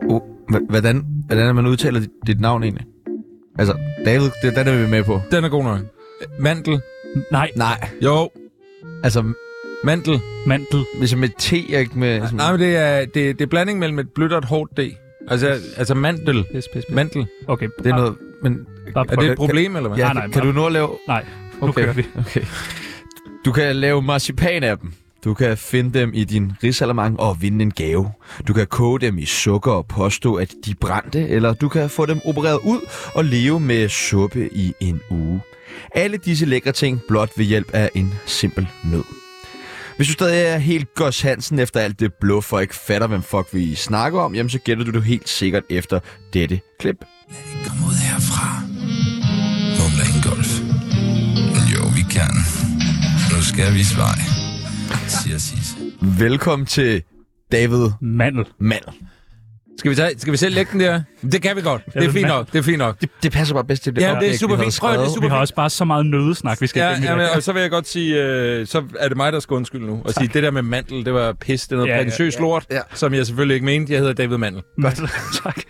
H- Hvordan, hvordan er man udtaler dit, dit navn egentlig? Altså, David, det, den er vi med på. Den er god nok. Mantel. Nej, Nej, Jo, altså, mantel. mantel. hvis jeg med T, jeg ikke med... Altså, altså, Sådan, Nej, men det er, det, det er blanding mellem et blødt og et hårdt D. Altså, altså mandel. Pis, pis, pis. Mantel. Okay, det er noget... Men, Bare, Er bare, det det... et problem, eller hvad? ja, Nej, nej, nej, nej, kan bare- du nu lave... Nej, nu Okay. kører vi. Okay. Du kan lave marcipan af dem. Du kan finde dem i din risalamang og vinde en gave. Du kan koge dem i sukker og påstå, at de brændte, eller du kan få dem opereret ud og leve med suppe i en uge. Alle disse lækre ting blot ved hjælp af en simpel nød. Hvis du stadig er helt Gos Hansen efter alt det bluff og ikke fatter, hvem fuck vi snakker om, jamen så gætter du det helt sikkert efter dette klip. Kom ud herfra. Mumler en golf. Jo, vi kan. Nu skal vi svej, siger Sisse. Velkommen til David Mandel. Mandel. Skal vi, tage, skal vi selv lægge den der? Det kan vi godt. Det er ved fint man- nok. Det er fint nok. Det, det passer bare bedst til det. Ja, det er oplæg, vi super havde fint. Prøv at- det er skrevet. super Vi har fint. også bare så meget nødesnak, vi skal Ja, altså- igennem i ja dag. men, og så vil jeg godt sige, øh, så er det mig, der skal undskylde nu. Og sige, det der med mandel, det var pis, det er noget Ja, ja, ja, prætentiøs lort, ja. som jeg selvfølgelig ikke mente. Jeg hedder David Mandel. Mm. Mandel. tak.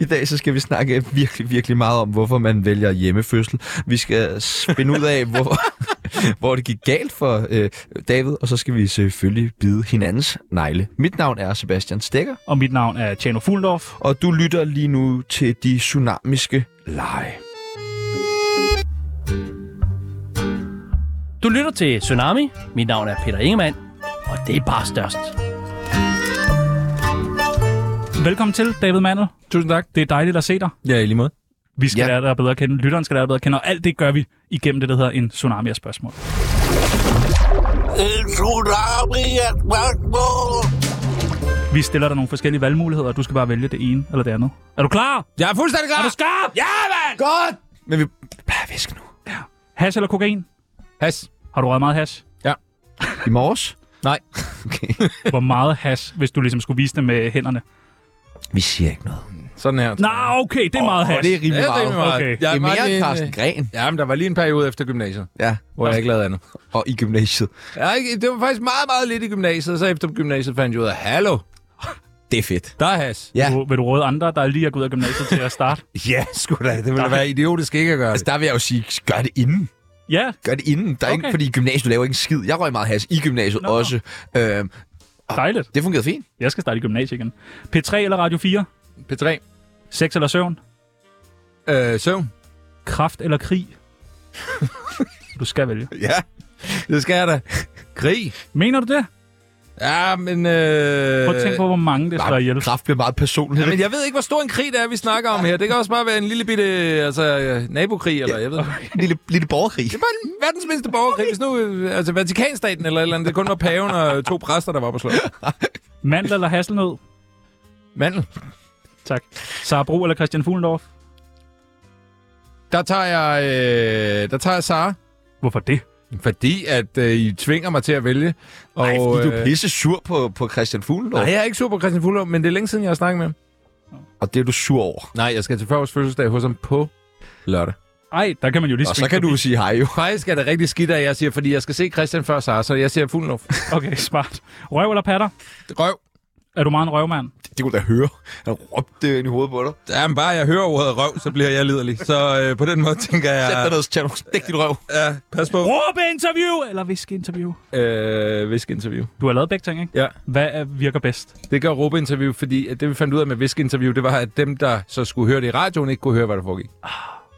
I dag så skal vi snakke virkelig, virkelig meget om, hvorfor man vælger hjemmefødsel. Vi skal s- finde ud af, hvor, hvor det gik galt for øh, David, og så skal vi selvfølgelig bide hinandens negle. Mit navn er Sebastian Stikker, Og mit navn er Tjano Fuglendorf. og du lytter lige nu til de tsunamiske lege. Du lytter til Tsunami. Mit navn er Peter Ingemann, og det er bare størst. Velkommen til, David Mandel. Tusind tak. Det er dejligt at se dig. Ja, i lige måde. Vi skal ja. Ja. lære dig bedre at kende, lytteren skal lære dig bedre at kende, og alt det gør vi igennem det, der hedder en tsunami af spørgsmål. En tsunami af spørgsmål. Vi stiller dig nogle forskellige valgmuligheder, og du skal bare vælge det ene eller det andet. Er du klar? Jeg er fuldstændig klar. Er du skarp? Ja! Godt! Men vi plejer væsk nu. Hash eller kokain? Pas. Har du røget meget hash? I morges? Nej. Okay. Hvor meget hash, hvis du ligesom skulle vise det med hænderne? Vi siger ikke noget. Sådan her. Nå, okay, det er oh, meget Og hash. det er rimelig Ja, meget. det er meget. Okay. Det Jeg er var mere lige end en, Carsten Gren, øh, Jamen, der var lige en periode efter gymnasiet, ja, hvor jeg ikke lavede andet. og i gymnasiet. Jeg, ikke- det var faktisk meget, meget lidt i gymnasiet, og så efter gymnasiet fandt jeg ud af, hallo, Det er fedt. der er has. Ja, Du, vil du råde andre, der er lige er gået ud af gymnasiet til at starte? ja sgu da. Det Det ville være idiotisk ikke at gøre Altså, det. der vil jeg jo sige, gør det inden. Ja, Gør det inden. Der er okay. Okay. ikke, fordi i gymnasiet du laver ikke en skid. Jeg røg meget has i gymnasiet Nå. Nå. også. Øhm, dejligt. det fungerede fint. Jeg skal starte i gymnasiet igen. P3 eller Radio 4? P3. Sex eller søvn? Øh, søvn. Kraft eller krig? du skal vælge. Ja. Det skal jeg da. Krig. Mener du det? Ja, men... Øh... Prøv at tænke på, hvor mange det slår ihjel. Kraft bliver meget personligt. Men jeg ved ikke, hvor stor en krig det er, vi snakker om her. Det kan også bare være en lille bitte altså, øh, nabokrig, eller jeg ved ikke. en lille, lille borgerkrig. Det er bare den verdens mindste borgerkrig. Hvis nu, øh, altså Vatikanstaten eller et eller andet, det kun var paven og to præster, der var på slået. Mandel eller hasselnød? Mandel, Tak. Sara Bro eller Christian Fuglendorf? der tager jeg, øh, der tager jeg Sara. Hvorfor det? Fordi at øh, I tvinger mig til at vælge. Og, Nej, fordi du er øh, pisse sur på, på Christian Fuglendorf. Nej, jeg er ikke sur på Christian Fuller, men det er længe siden, jeg har snakket med ham. Og det er du sur over. Nej, jeg skal til 40 års fødselsdag hos ham på lørdag. Ej, der kan man jo lige Og så svinge kan forbi. du sige hej jo. Faktisk er det rigtig skidt, at jeg siger, fordi jeg skal se Christian før Sara, så jeg siger fuld luft. Okay, smart. Røv eller patter? Røv. Er du meget en røvmand? Det kunne du da høre. Han råbte ind i hovedet på dig. Jamen bare jeg hører ordet røv, så bliver jeg liderlig. Så øh, på den måde tænker Sæt dig jeg, ned, Tjerno. Dæk dit røv. ja, pas på. Råbeinterview! Eller viskeinterview. Øh, viskeinterview. Du har lavet begge ting, ikke? Ja. Hvad er- virker bedst? Det gør råbeinterview, fordi at det vi fandt ud af med viskeinterview, det var, at dem, der så skulle høre det i radioen, ikke kunne høre, hvad der foregik.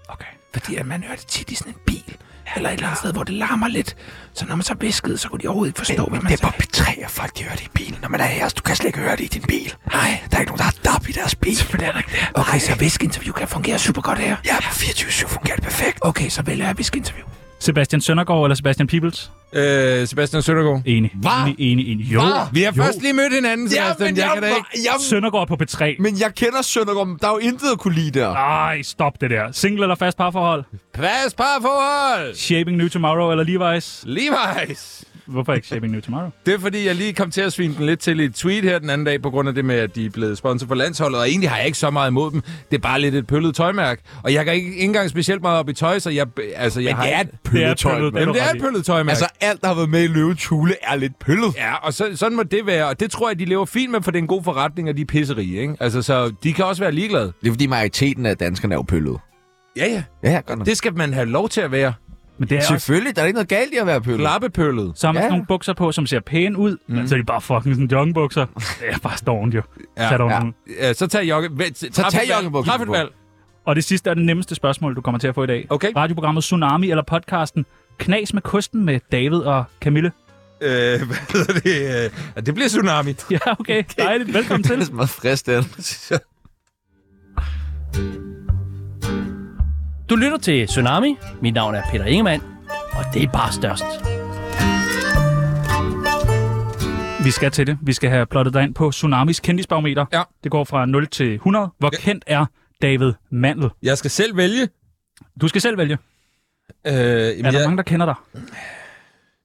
Okay. Fordi at man hører det tit i sådan en bil, eller et eller andet sted, hvor det larmer lidt. Så når man så viskede, så kunne de overhovedet ikke forstå, hvad man Det er på P3, at folk de hører det i bilen. Når man er her, du kan slet ikke høre det i din bil. Nej, der er ikke nogen, der har dab i deres bil. Selvfølgelig er der ikke det. Okay, så viskeinterview kan fungere super godt her. Ja, 24-7 fungerer det perfekt. Okay, så vælger jeg viskeinterview. Sebastian Søndergaard eller Sebastian Peebles? Øh, Sebastian Søndergaard. Ah, Enig. Enig, enig, enig. Jo. Vi har først lige mødt hinanden, Sebastian. Ja, men jeg, jeg kan da ikke. jeg, Søndergaard på P3. men jeg kender Søndergaard. men Der er jo intet at kunne lide der. Ej, stop det der. Single eller fast parforhold? Pas parforhold! Shaping New Tomorrow eller Levi's? Levi's! Hvorfor ikke Shaping New Tomorrow? Det er fordi, jeg lige kom til at svine den lidt til i et tweet her den anden dag, på grund af det med, at de er blevet sponsor for landsholdet, og egentlig har jeg ikke så meget imod dem. Det er bare lidt et pøllet tøjmærke. Og jeg kan ikke, ikke engang specielt meget op i tøj, så jeg, altså, jeg har... Det er et pølletøj. pøllet, mand. Jamen, det er et pøllet tøjmærke. Altså, alt, der har været med i løvens hule, er lidt pøllet. Ja, og så, sådan må det være. Og det tror jeg, de lever fint med, for det er en god forretning, og de er pisserige, ikke? Altså, så de kan også være ligeglade. Det er fordi, majoriteten af danskerne er jo pøllet. Ja, ja. Mm. Ja, ja, godt nok. Det skal man have lov til at være. Men det er også... Selvfølgelig, der er ikke noget galt i at være pøllet. Lappepøllet. Så har man Ja. sådan nogle bukser på, som ser pæne ud, mm. men så er de bare fucking sådan joggingbukser. Det er bare stormt jo. Ja, Ja, Tag ja. ja. Ja, så tag jogge... Vent, træf tag et valg. joggebuksen Træf et på. valg. Og det sidste er det nemmeste spørgsmål, du kommer til at få i dag. Okay. Radioprogrammet Tsunami eller podcasten Knas med kosten med David og Camille. Øh, hvad hedder det? Øh, ja, det bliver tsunami. Ja, okay. Dejligt. Velkommen Det til. er så meget frisk, det er. Du lytter til Tsunami. Mit navn er Peter Ingemann, og det er bare størst. Vi skal til det. Vi skal have plottet dig ind på Tsunamis kendisbarometer. Ja. Det går fra 0 til 100. Hvor Ja. kendt er David Mandel? Jeg skal selv vælge. Du skal selv vælge. Øh, jamen, Er der jeg- mange, der kender dig?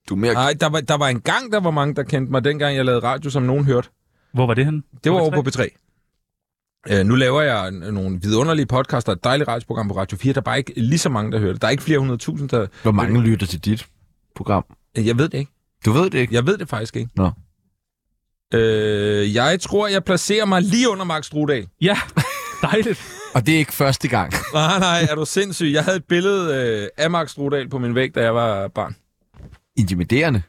Du er mere... Nej, der var, der var en gang, der var mange, der kendte mig, dengang jeg lavede radio, som nogen hørte. Hvor var det henne? Det var På over P3? på B3. Øh, nu laver jeg n- nogle vidunderlige podcasts og et dejligt radioprogram på Radio 4. Der er bare ikke lige så mange, der hører det. Der er ikke flere hundrede tusind, der... Hvor mange lytter til dit program? Øh, Jeg ved det ikke. Du ved det ikke. Jeg ved det faktisk ikke. Nå. Øh, jeg tror, jeg placerer mig lige under Mark Strudal. Ja, dejligt. Og det er ikke første gang. Nej, nej, er du sindssyg? Jeg havde et billede øh, af Mark Strudal på min væg, da jeg var barn. Intimiderende.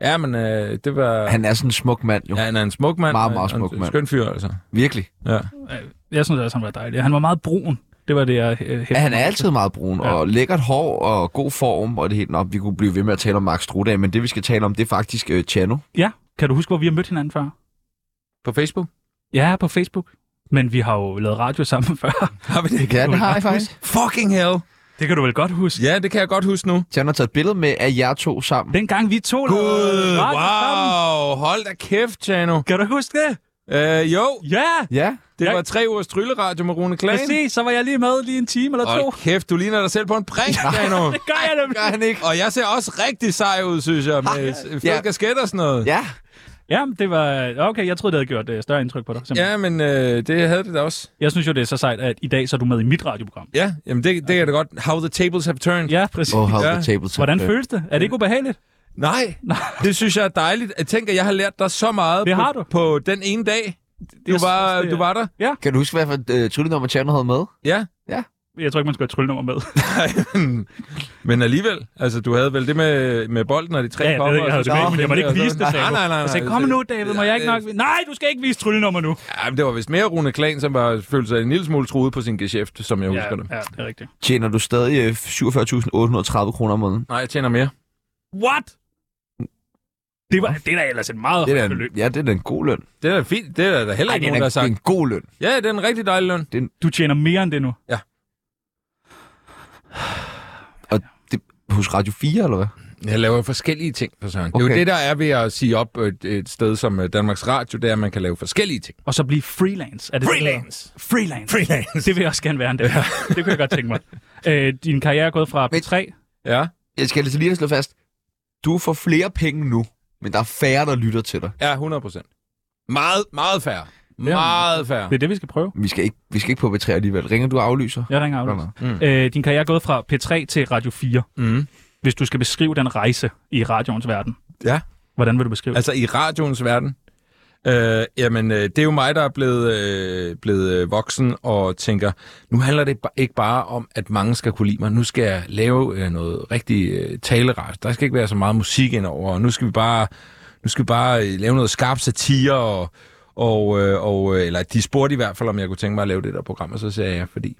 Ja, men øh, det var... Han er sådan en smuk mand, jo. ja, han er en smuk mand. Meget, og- meget og en smuk mand. Skøn fyr, altså. Virkelig. Ja. Jeg synes også, han var dejlig. Han var meget brun. Det var det, jeg øh, hæftede Ja, han mig er til. altid meget brun, Ja. og lækkert hår, og god form, og det helt op. Vi kunne blive ved med at tale om Mark Strudal, men det vi skal tale om, det er faktisk øh, Chano. Ja. Kan du huske, hvor vi har mødt hinanden før? På Facebook? Ja, på Facebook. Men vi har jo lavet radio sammen før. Har vi det? Ja, det har jeg faktisk. Fucking hell! Det kan du vel godt huske. Ja, det kan jeg godt huske nu. Chano har taget et billede med af jer to sammen. Dengang vi to lavede radio sammen. wow! Hold da kæft, Tjano. Kan du huske det? Øh, jo, Ja, Ja. det Jeg- var tre ugers trylleradio med Rune Klagen. præcis. Så var jeg lige med lige en time eller to. Hold kæft, du ligner dig selv på en prik, Tjano. Det gør jeg nemlig. Gør han ikke? Og jeg ser også rigtig sej ud, synes jeg, med s- fed Ja. kasket og sådan noget. Ja. Jamen, det var... Okay, jeg troede, det havde gjort øh, større indtryk på dig. Simpelthen. Ja, men øh, det havde det da også. Jeg synes jo, det er så sejt, at i dag så er du med i mit radioprogram. Ja, jamen det, det kan jeg da godt. How the tables have turned. Ja, præcis. Oh, how Ja. the table turned. Hvordan føles det? Er det ikke ubehageligt? Nej, det synes jeg er dejligt. Jeg tænker, jeg har lært dig så meget Det på, har du. på den ene dag, du var, det er- du var der. Kan du huske, hvad for et øh, tryllenummer Chano havde med? Ja, Jeg tror ikke, man skal have et tryllenummer med. men alligevel. Altså, du havde vel det med, med bolden og de tre Ja, ja, det kopper. havde jeg- og så havde det med, tre men fingre jeg måtte ikke og vise sådan. det, Nej, sagde du. nej, nej. Jeg sagde, nej, kom det- nu, David, må jeg ikke nok... Nej, du skal ikke vise tryllenummer nu. Ja, men det var vist mere Rune Klan, som var, følte sig en lille smule truet på sin geschæft, som jeg Ja, husker det. ja, det er rigtigt. Tjener du stadig øh, 47.830 kroner om måneden? Nej, jeg tjener mere. What? Det, var, det er da ellers et meget Det er højt da en, beløb. ja, det er da en god løn. Det er da fint. Det er der da heller Ej, ikke det er da nogen, der har det er sagt. en god løn. Ja, det er en rigtig dejlig løn. Du tjener mere end det nu. Hos Radio 4, eller hvad? Jeg laver forskellige ting for Søren. Okay. Det Okay. er jo det, der er ved at sige op et, et sted som øh, Danmarks Radio, det er, at man kan lave forskellige ting. Og så blive freelance. Er det det, det hedder? Freelance! freelance. Freelance! Det vil jeg også gerne være en dag. Det kunne jeg godt tænke mig. Øh, din karriere er gået fra Men- P3. Ja, Jeg skal altså lige slå fast. Du får flere penge nu, men der er færre, der lytter til dig. ja, 100 procent. Meget, meget færre. Meget færre. Det er det, vi skal prøve. Vi skal ikke, vi skal ikke på B3 alligevel. Ringer du og aflyser? Jeg ringer af. Øh, din karriere er gået fra P3 til Radio 4. Mm. Hvis du skal beskrive den rejse i radioens verden. Ja. Hvordan vil du beskrive altså, Altså i radioens verden. Øh, jamen, øh, det er jo mig, der er blevet, øh, blevet øh, voksen og tænker, nu handler det ba- ikke bare om, at mange skal kunne lide mig. Nu skal jeg lave øh, noget rigtig øh, talerars. Der skal ikke være så meget musik indover, og nu skal vi bare, nu skal vi bare øh, lave noget skarp satire. Og, og, øh, og, øh, eller de spurgte i hvert fald, om jeg kunne tænke mig at lave det der program, og så sagde jeg ja, fordi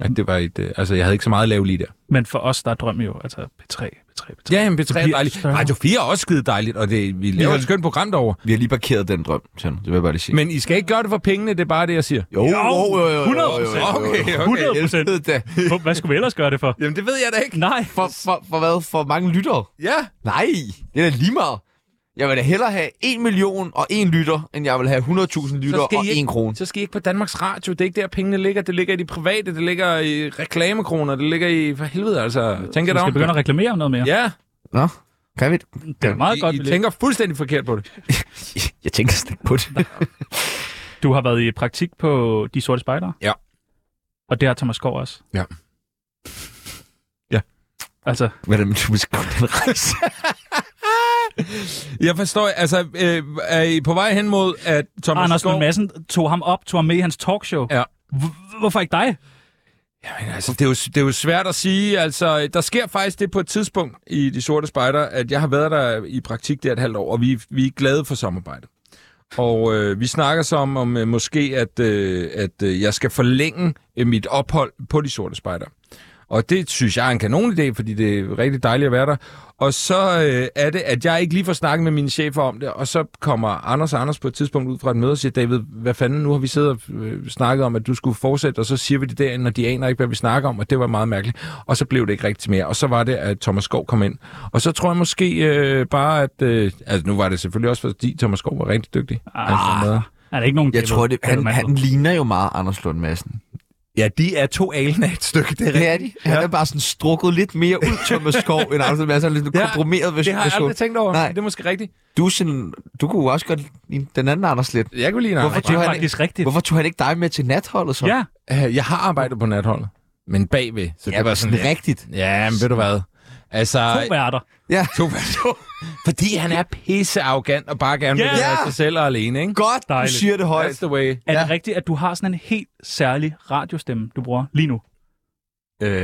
at det var et, øh, altså, jeg havde ikke så meget at lave lige der. det? Men for os, der er drømmen jo altså P3, P3, P3. Ja, jamen, P3 er bliver dejligt. større. Radio 4 er også skide dejligt, og det, vi laver Ja. et skønt program derovre. Vi har lige parkeret den drøm, Tjerno. Det vil jeg bare lige sige. Men I skal ikke gøre det for pengene, det er bare det, jeg siger. jo, jo, jo, jo, jo, jo, 100%. Okay, okay. 100 procent. Helvede da. Hvor- Hvad skulle vi ellers gøre det for? Jamen, det ved jeg da ikke. Nej. For, for, for hvad? For mange lyttere? Ja. Nej, det er da lige meget. Jeg vil da hellere have 1 million og 1 lytter, end jeg vil have 100.000 lytter og 1 krone. så skal I ikke på Danmarks Radio. Det er ikke der, pengene ligger. Det ligger i de private, det ligger i reklamekroner, det ligger i... For helvede, altså. Tænker Vi dig skal om. begynde at reklamere om noget mere. Ja. Nå, Kan vi? Det er meget I, godt, I vi tænker fuldstændig forkert på det. Jeg tænker slet ikke på det. lidt- Du har været i praktik på De Sorte Spejdere? Ja. Og det har Thomas Skov også? Ja. Ja. Altså, Hvordan du beskriver den rejse? Jeg forstår, altså, øh, er I på vej hen mod, at Thomas Anders Lund Skov... Madsen tog ham op, tog ham med i hans talkshow. Ja. H- hvorfor ikke dig? Jamen, altså, det, er jo, det er jo svært at sige. Altså, der sker faktisk det på et tidspunkt i De Sorte Spejder, at jeg har været der i praktik der et halvt år, og vi, vi er glade for samarbejdet. Og øh, vi snakker så om, om øh, måske, at, øh, at øh, jeg skal forlænge øh, mit ophold på De Sorte Spejder. Og det synes jeg er en kanon idé, fordi det er rigtig dejligt at være der. Og så øh, er det, at jeg ikke lige får snakket med mine chefer om det, og så kommer Anders og Anders på et tidspunkt ud fra et møde og siger, David, hvad fanden, nu har vi siddet og øh, snakket om, at du skulle fortsætte, og så siger vi det derinde, og de aner ikke, hvad vi snakker om, og det var meget mærkeligt. Og så blev det ikke rigtigt mere, og så var det, at Thomas Skov kom ind. Og så tror jeg måske øh, bare, at... Øh, altså, nu var det selvfølgelig også, fordi Thomas Skov var rigtig dygtig. Ah. med- Er der ikke nogen... Jeg tror, det, han, Ellemann? han ligner jo meget Anders Lund Madsen. Ja, de er to alen af et stykke, det er Det er de. Han er bare sådan strukket lidt mere ud, Thomas Skov, end Anders Lund Madsen. Han er lidt Ja, komprimeret ved Det har jeg aldrig tænkt over. Nej. Det er måske rigtigt. Du, er sådan, du kunne jo også godt lide den anden Anders lidt. Jeg kunne lide en Hvorfor Anders Det er han faktisk rigtigt. Hvorfor tog han ikke dig med til natholdet så? Ja, Øh, Jeg har arbejdet på natholdet, men bagved. Så Ja, det var sådan rigtigt. Ja, men ved du hvad? Altså, to værter. Ja. to Fordi han er pissearrogant og bare gerne vil Ja. være sig selv og alene, ikke? Godt, Dejligt. du siger det højt. That's the way. Er det rigtigt, at du har sådan en helt særlig radiostemme, du bruger lige nu?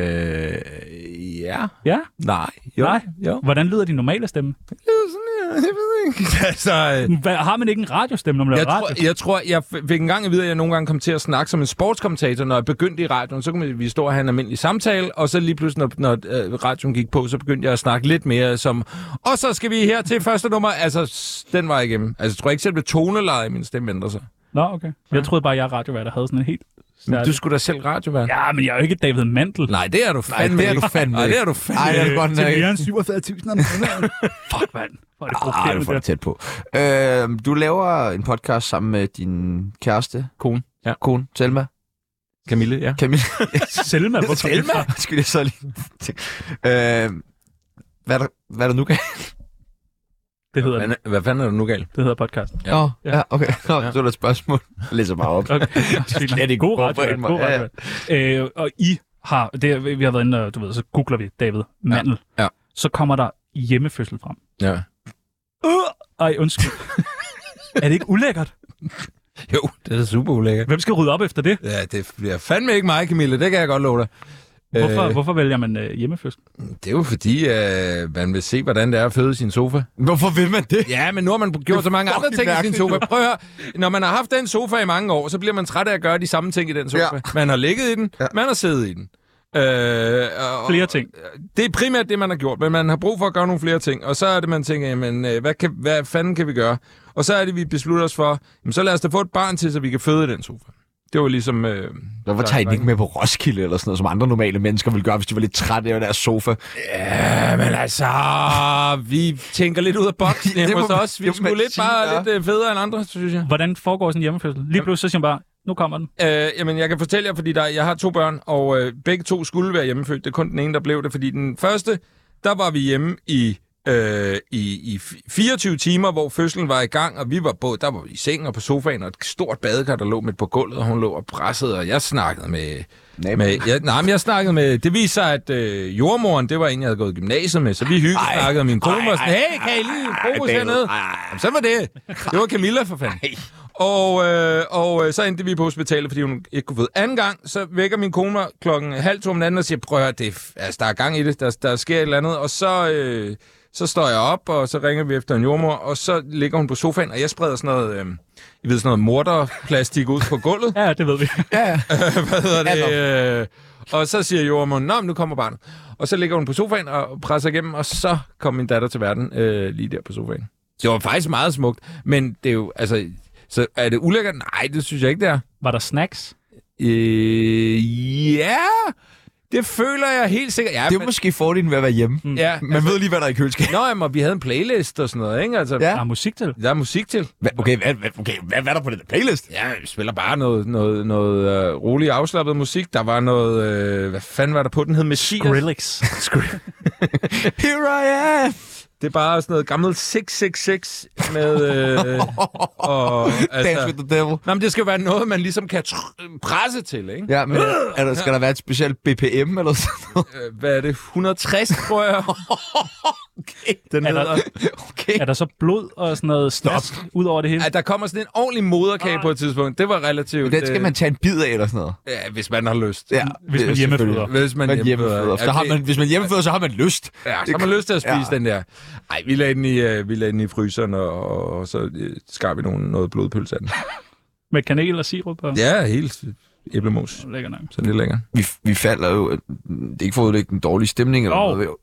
Øh, ja. Ja? Nej. Jo. Nej? Jo. Hvordan lyder din normale stemme? Det er sådan, jeg ved ikke. altså, øh, Hvad, har man ikke en radiostemme, når man jeg laver radio? tror, jeg tror, jeg f- fik engang at vide, at jeg nogle gange kom til at snakke som en sportskommentator, når jeg begyndte i radioen. Så kunne vi stå og have en almindelig samtale, og så lige pludselig, når, når øh, radioen gik på, så begyndte jeg at snakke lidt mere som, og så skal vi her til første nummer. Altså, s- den var igennem. Altså, jeg tror ikke selv, at tonelejet i min stemme ændrer sig. Nå, okay. Jeg troede bare, at jeg radiovært, der havde sådan en helt Men særlig... du skulle da selv radiovært. Ja, men jeg er jo ikke David Mandel. Øh, Nej, det er du fandme det er ikke. du fandme Nej, det ikke. er du fandme Ej, det er godt nok. mere end 47.000 om måneden. Fuck, mand. Hvor er Ej, det du provokerende, får det det tæt på. Øh, du laver en podcast sammen med din kæreste, Kone. Ja. kone, Selma. Camille, ja. Camille. der. Selma, hvorfor er det fra? Skal jeg så lige tænke. Øh, hvad, er der, hvad er der nu kan? Det hedder, det. Hvad, hvad fanden er du nu gal? det hedder podcasten. Ja. Nå, ja, okay. Nå, Ja. så er der et spørgsmål. Jeg læser bare op. Okay. slet ikke God forberedt radiovært, mig. god Ja, ja. radiovært. Øh, og I har, det, er- vi har været inde, og du ved, så googler vi David Mandel. Ja. Så kommer der hjemmefødsel frem. Ja. Øh, ej, undskyld. er det ikke ulækkert? Jo, det er da super ulækkert. Hvem skal rydde op efter det? Ja, det bliver fandme ikke mig, Camille. Det kan jeg godt love dig. Hvorfor, øh, Øh, hvorfor vælger man øh, hjemmefødsel? Det er jo fordi, øh, man vil se, hvordan det er at føde i sin sofa. Hvorfor vil man det? Ja, men nu har man gjort så mange andre fucking ting i sin mærkeligt, sofa. Prøv at høre. Når man har haft den sofa i mange år, så bliver man træt af at gøre de samme ting i den sofa. Ja. Man har ligget i den, Ja. man har siddet i den. Øh, og, Flere ting. det er primært det, man har gjort, men man har brug for at gøre nogle flere ting. Og så er det, man tænker, jamen, øh, hvad, kan, hvad fanden kan vi gøre? Og så er det, vi beslutter os for, jamen, så lad os da få et barn til, så vi kan føde i den sofa. Det var ligesom... Øh, Hvorfor tager I den ikke med på Roskilde eller sådan noget, som andre normale mennesker ville gøre, hvis de var lidt trætte af deres sofa? Ja, men altså, vi tænker lidt ud af boksen Det hjemme må hos man- os. Vi er det må sgu man lidt sige, bare ja. lidt øh, federe end andre, synes jeg. Hvordan foregår sådan en hjemmefødsel? Lige pludselig så siger man bare, nu kommer den. Øh, jamen, jeg kan fortælle jer, fordi der, jeg har to børn, og øh, begge to skulle være hjemmefødt. Det er kun den ene, der blev det, fordi den første, der var vi hjemme i, øh, i, i fi- 24 timer, hvor fødslen var i gang, og vi var både, der var vi i sengen og på sofaen, og et stort badekar, der lå midt på gulvet, og hun lå og pressede, og jeg snakkede med... med jeg, nej, men jeg snakkede med... Det viser sig, at øh, jordmoren, det var en, jeg havde gået i gymnasiet med, så vi hyggede snakkede, og min kone var sådan, hey, kan I lige fokus hernede? Jamen, så var det. Det var Camilla for fanden. Og, øh, og øh, så endte vi på hospitalet, fordi hun ikke kunne føde. Anden gang, så vækker min kone mig klokken halv to om natten og siger, prøv at høre, det er, f- altså, der er gang i det, der, der sker et eller andet. Og så, øh, så står jeg op, og så ringer vi efter en jordmor, og så ligger hun på sofaen, og jeg spreder sådan noget, øh, I ved, sådan noget morterplastik ud på gulvet. Ja, det ved vi. Hvad hedder det? Øh, og så siger jordmoren, nå, men nu kommer barnet. Og så ligger hun på sofaen og presser igennem, og så kom min datter til verden øh, lige der på sofaen. Det var faktisk meget smukt, men det er jo, altså, så er det ulækkert? Nej, det synes jeg ikke, det er. Var der snacks? Øh, ja, det føler jeg helt sikkert. Ja, Det er men- Mm. måske fordelen ved at være hjemme. ja, altså, Man ved lige, hvad der er i køleskabet. Nå, jamen, og vi havde en playlist og sådan noget, ikke? Altså, Ja. Der er musik til. Der er musik til. Hva- Okay, hvad, hvad, okay, hvad, hvad er der på den der playlist? Ja, vi spiller bare noget, noget, noget uh, rolig afslappet musik. Der var noget... Øh, hvad fanden var der på? Den hed Messias. Grillix. Here I am! Det er bare sådan noget gammelt 666 med... Øh, og, altså- Dance with the devil. Nå, men det skal jo være noget, man ligesom kan tr- presse til, ikke? Ja, men Øh! er der, skal der være et specielt BPM eller sådan noget? Ja. Øh, Hvad er det? 160, tror jeg. okay. Den Er der- hedder... Okay. Er der så blod og sådan noget snask ud over det hele? At der kommer sådan en ordentlig moderkage på et tidspunkt. Det var relativt... Den skal øh, man tage en bid af eller sådan noget. Ja, hvis man har lyst. Ja, Hvis man øh, hjemmeføder. selvfølgelig. Hvis man, Man hjemmeføder. Så har Okay. man, hvis man hjemmeføder, så har man lyst. Ja, så har man lyst til at spise Ja. ja. den der. Nej, vi lagde den i, øh, vi lagde den i fryseren, og, og, og så øh, skar vi nogen, noget blodpølse af den. Med kanel og sirup og... Ja, helt æblemos. Lækker nok. Sådan lidt længere. Vi, vi falder jo... Det er ikke for at udlægge en dårlig stemning eller Jo. noget. Jo,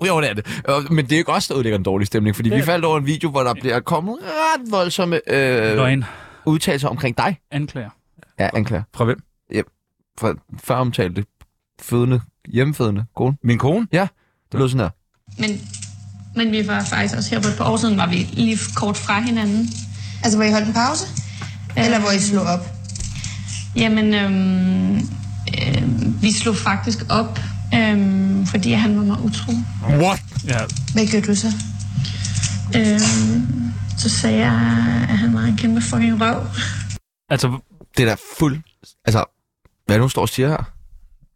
jo, jo, det er det. Øh, Men det er jo ikke også, der udlægger en dårlig stemning, fordi vi faldt over en video, hvor der bliver kommet ret voldsomme øh, Løgn. udtalelser omkring dig. Anklager. Ja, anklager. Fra hvem? Fra før omtalte fødende, hjemmefødende kone. Min kone? Det lød sådan her. Men, men vi var faktisk også her på et par år siden, var vi lige kort fra hinanden. Øhm, Altså, hvor I holdt en pause? Eller hvor I slog op? Jamen, øhm, øh, vi slog faktisk op, øhm, fordi han var mig utro. What? Ja, Hvad gjorde du så? Øhm, så sagde jeg, at han var en kæmpe fucking røv. altså... Det er da fuld... Altså, hvad er det, hun står og siger her?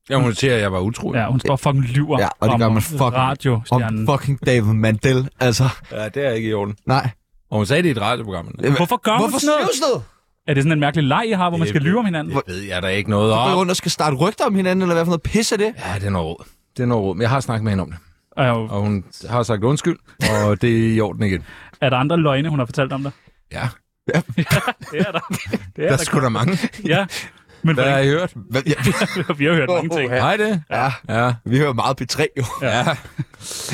Jeg må notere, at jeg var utro. Ja, hun står og fucking lyver Ja, og det om gør man fucking... om radiostjernen. fucking David Mandel, altså. ja, det er ikke i orden. Nej. Og hun sagde det i et radioprogram. men Hvorfor gør Hvorfor man sådan noget? skrives noget? Er det sådan en mærkelig leg, I har, hvor man skal lyve om hinanden? Det ved jeg da ikke noget Går I om. rundt og skal starte rygter om hinanden, eller hvad for noget pis er det? Ja, det er noget råd. Det er noget råd. Men jeg har snakket med hende om det. Er, jo- Og hun har sagt undskyld, og det er i orden igen. er der andre løgne, hun har fortalt om dig? Ja, Det er der. Det der er er der. sgu da mange. Ja. Men Hvad har I hørt? Hvad, ja, hvordan, vi har hørt mange ting. Hej det. ja, Ja. vi hører meget P3, jo. Ja.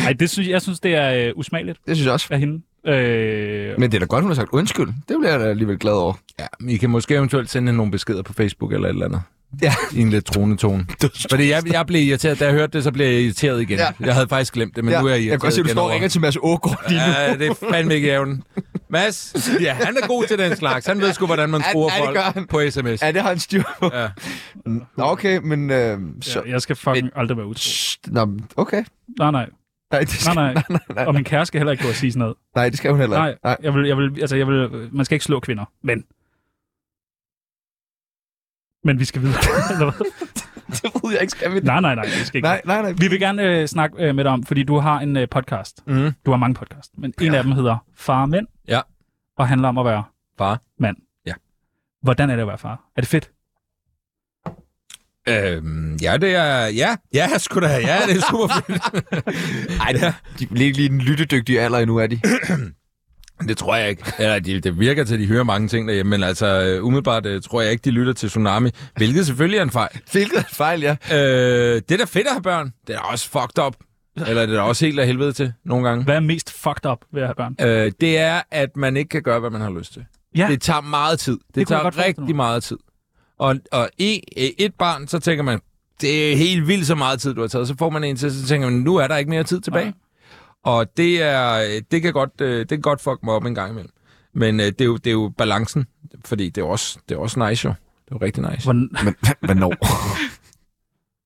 Nej, det synes, jeg synes, det er øh, usmageligt Det synes jeg også. af hende. Øh, Men det er da godt, hun har sagt undskyld. Det bliver jeg da alligevel glad over. ja. men I kan måske eventuelt sende hende nogle beskeder på Facebook eller et eller andet. Ja. I en lidt truende tone. Fordi jeg, jeg blev irriteret. Da jeg hørte det, så blev jeg irriteret igen. Ja. Ja. Jeg havde faktisk glemt det, men ja. nu er jeg irriteret jeg kan godt se, at du igen står og over- ringer til Mads Ågaard lige nu. Ja, det er fandme ikke jævn. Mads, ja, han er god til den slags. Han ved sgu, hvordan man Ja, skruer ja, det folk gør han. på sms. Ja, det har han styr på. Ja. Nå, okay, men... Øh, så, ja, jeg skal fucking aldrig være utro. Psst, Nå, men okay. Nej, nej. Nej, det skal, Nej, nej. nej, Og min kæreste skal heller ikke gå og sige sådan noget. nej, det skal hun heller Nej, ikke. Nej. jeg vil, jeg vil, altså, jeg vil, man skal ikke slå kvinder, men... Men vi skal videre, eller hvad? Det ved jeg ikke, skal vi det? Nej, nej, nej, vi skal ikke. Nej, nej, nej. Vi vil gerne øh, snakke øh, med dig om, fordi du har en øh, podcast. Mm. Du har mange podcasts, men en af dem hedder Far og Mænd. Ja. Og handler om at være Far. mand. Ja. Hvordan er det at være far? Er det fedt? Øhm, ja, det er... Ja, ja, sgu da. Ja, det er super fedt. Ej, det er, de er lige, lige den lyttedygtige alder endnu, er de. Det tror jeg ikke. Eller, de, det virker til, at de hører mange ting derhjemme, men altså, øh, umiddelbart øh, tror jeg ikke, de lytter til Tsunami, hvilket selvfølgelig er en fejl. Hvilket er en fejl, ja. Øh, det er da fedt at have børn. Det er da også fucked up. Eller det er da også helt af helvede til, nogle gange. Hvad er mest fucked up ved at have børn? Øh, det er, at man ikke kan gøre, hvad man har lyst til. Ja. Det tager meget tid. Det, jeg det godt tager forestille mig. rigtig meget tid. Og, og i, i et barn, så tænker man, det er helt vildt så meget tid, du har taget. Så får man en til, så tænker man, nu er der ikke mere tid tilbage. Nej. Og det, er, det, kan godt, øh, det kan godt fuck mig op en gang imellem. Men øh, det, er jo, det er jo balancen, fordi det er også, det er også nice jo. Det er jo rigtig nice. Hvordan... Men hvornår?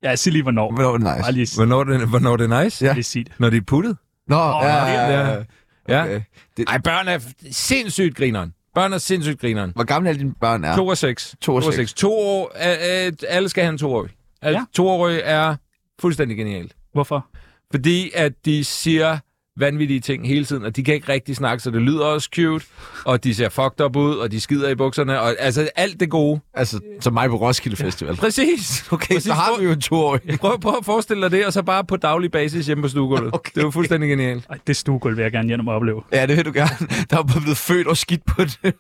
Ja, sig lige hvornår. hvornår er det nice? Bare lige, s- Hvornår det, hvornår det er nice? Ja. lige sig det. Når de er puttet? Nå, Åh, ja, det er- ja, ja. Ja. Okay. Det- Ej, børn er sindssygt grineren. Børn er sindssygt grineren. Hvor gamle er dine børn? Er? To og seks. To og seks. To år. Øh, øh, alle skal have en toårig. Altså, Ja. ja. Toårig er fuldstændig genialt. Hvorfor? Fordi at de siger vanvittige ting hele tiden, og de kan ikke rigtig snakke, så det lyder også cute, og de ser fucked up ud, og de skider i bukserne, og altså alt det gode. Altså, som mig på Roskilde Festival. Præcis. Okay, Præcis. så har vi jo en toårig. Prøv, prøv at forestille dig det, og så bare på daglig basis hjemme på stuegulvet. Okay. Okay. Det var fuldstændig genialt. Ej, det stuegulv vil jeg gerne hjem og opleve. Ja, det vil du gerne. Der er bare blevet født og skidt på det.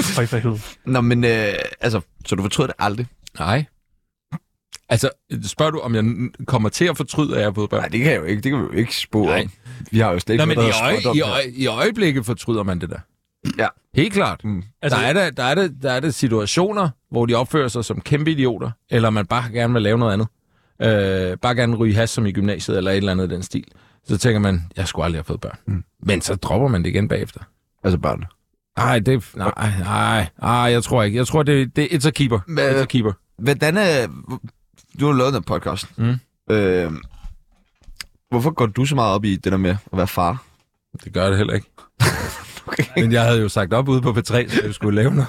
Føj for helvede. Nå, men øh, altså, så du fortrød det aldrig? Nej. Altså, spørger du, om jeg n- kommer til at fortryde, at jeg har fået børn? Nej, det kan jeg jo ikke. Det kan vi jo ikke spore Nej. om. Vi har jo slet ikke Nå, men i, noget, der hedder øje, spot om i, her. øje, i øjeblikket fortryder man det der. Ja. Helt klart. Mm. Mm. Altså- Altså, der, er der, der, er der, der er der situationer, hvor de opfører sig som kæmpe idioter, eller man bare gerne vil lave noget andet. Øh, bare gerne ryge has som i gymnasiet, eller et eller andet i den stil. Så tænker man, jeg skulle aldrig have fået børn. Mm. Men så dropper man det igen bagefter. Altså børn. Ej, det, nej, nej, nej, jeg tror ikke. Jeg tror, det, det it's a keeper. Hvad- It's a keeper. øh, Hvordan er... Du har lavet den podcast. Mm. Øh, Øhm, Hvorfor går du så meget op i det der med at være far? Det gør det heller ikke. okay. Men jeg havde jo sagt op ude på P3, så jeg skulle lave noget.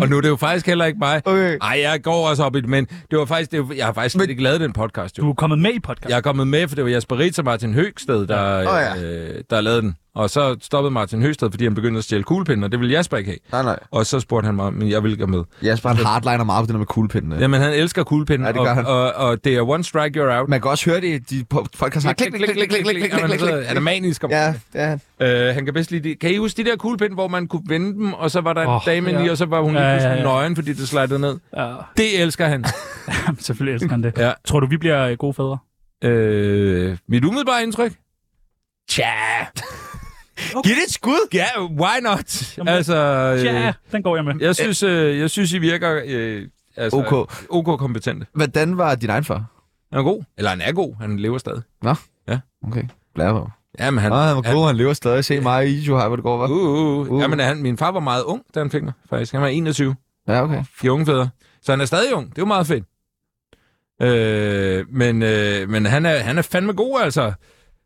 og nu er det jo faktisk heller ikke mig. Okay. Ej, jeg går også op i det, men det var faktisk, det var, jeg har faktisk men... ikke lavet den podcast, jo. Du er kommet med i podcast. Jeg er kommet med, for det var Jasper Ritz og Martin Høgsted, der, Åh, ja. øh, der lavede den. Og så stoppede Martin Høgsted, fordi han begyndte at stjæle kuglepinden, og det ville Jasper ikke have. Nej, nej. Og så spurgte han mig, men jeg ville gå med. Jasper, Altså- han hardliner meget på det der med øh. kuglepindene. Jamen, han elsker kuglepinden, Ja, det gør og, han. og, og, det er one strike, you're out. Man kan også høre det i de po- podcast. Så klik, klik, klik, klik, klik, klik, klik, klik, klik. Han er manisk om Ja, det er han. Øh, han kan bedst lide det. Kan I huske de der kuglepinde, hvor man kunne vende dem, og så var der en oh, Åh, dame ja. i, ja. og så var hun lige Ja, pludselig ja, ja. nøgen, fordi det slidede ned? Ja, Det elsker han. selvfølgelig elsker han det. Ja. Tror du, vi bliver øh, gode fædre? øh, mit umiddelbare indtryk? Tja. Giv det et skud! Ja, yeah, why not? Jamen, Altså, øh, Ja, den går jeg med. jeg, synes, øh, jeg synes, I virker øh, altså, OK. OK kompetente. Hvordan var din egen far? Han er god. Eller han er god. Han lever stadig. Okay. Blære på. Jamen, han... Nå, han var god, han lever stadig. Se mig i Ijo, hej, hvor det går, hva'? Uh, uh, uh. Uh. Jamen, han, min far var meget ung, da han fik mig, faktisk. Han var 21. Ja, okay. De unge fædre. Så han er stadig ung. Det er jo meget fedt. Øh, men øh, men han, er, han er fandme god, altså.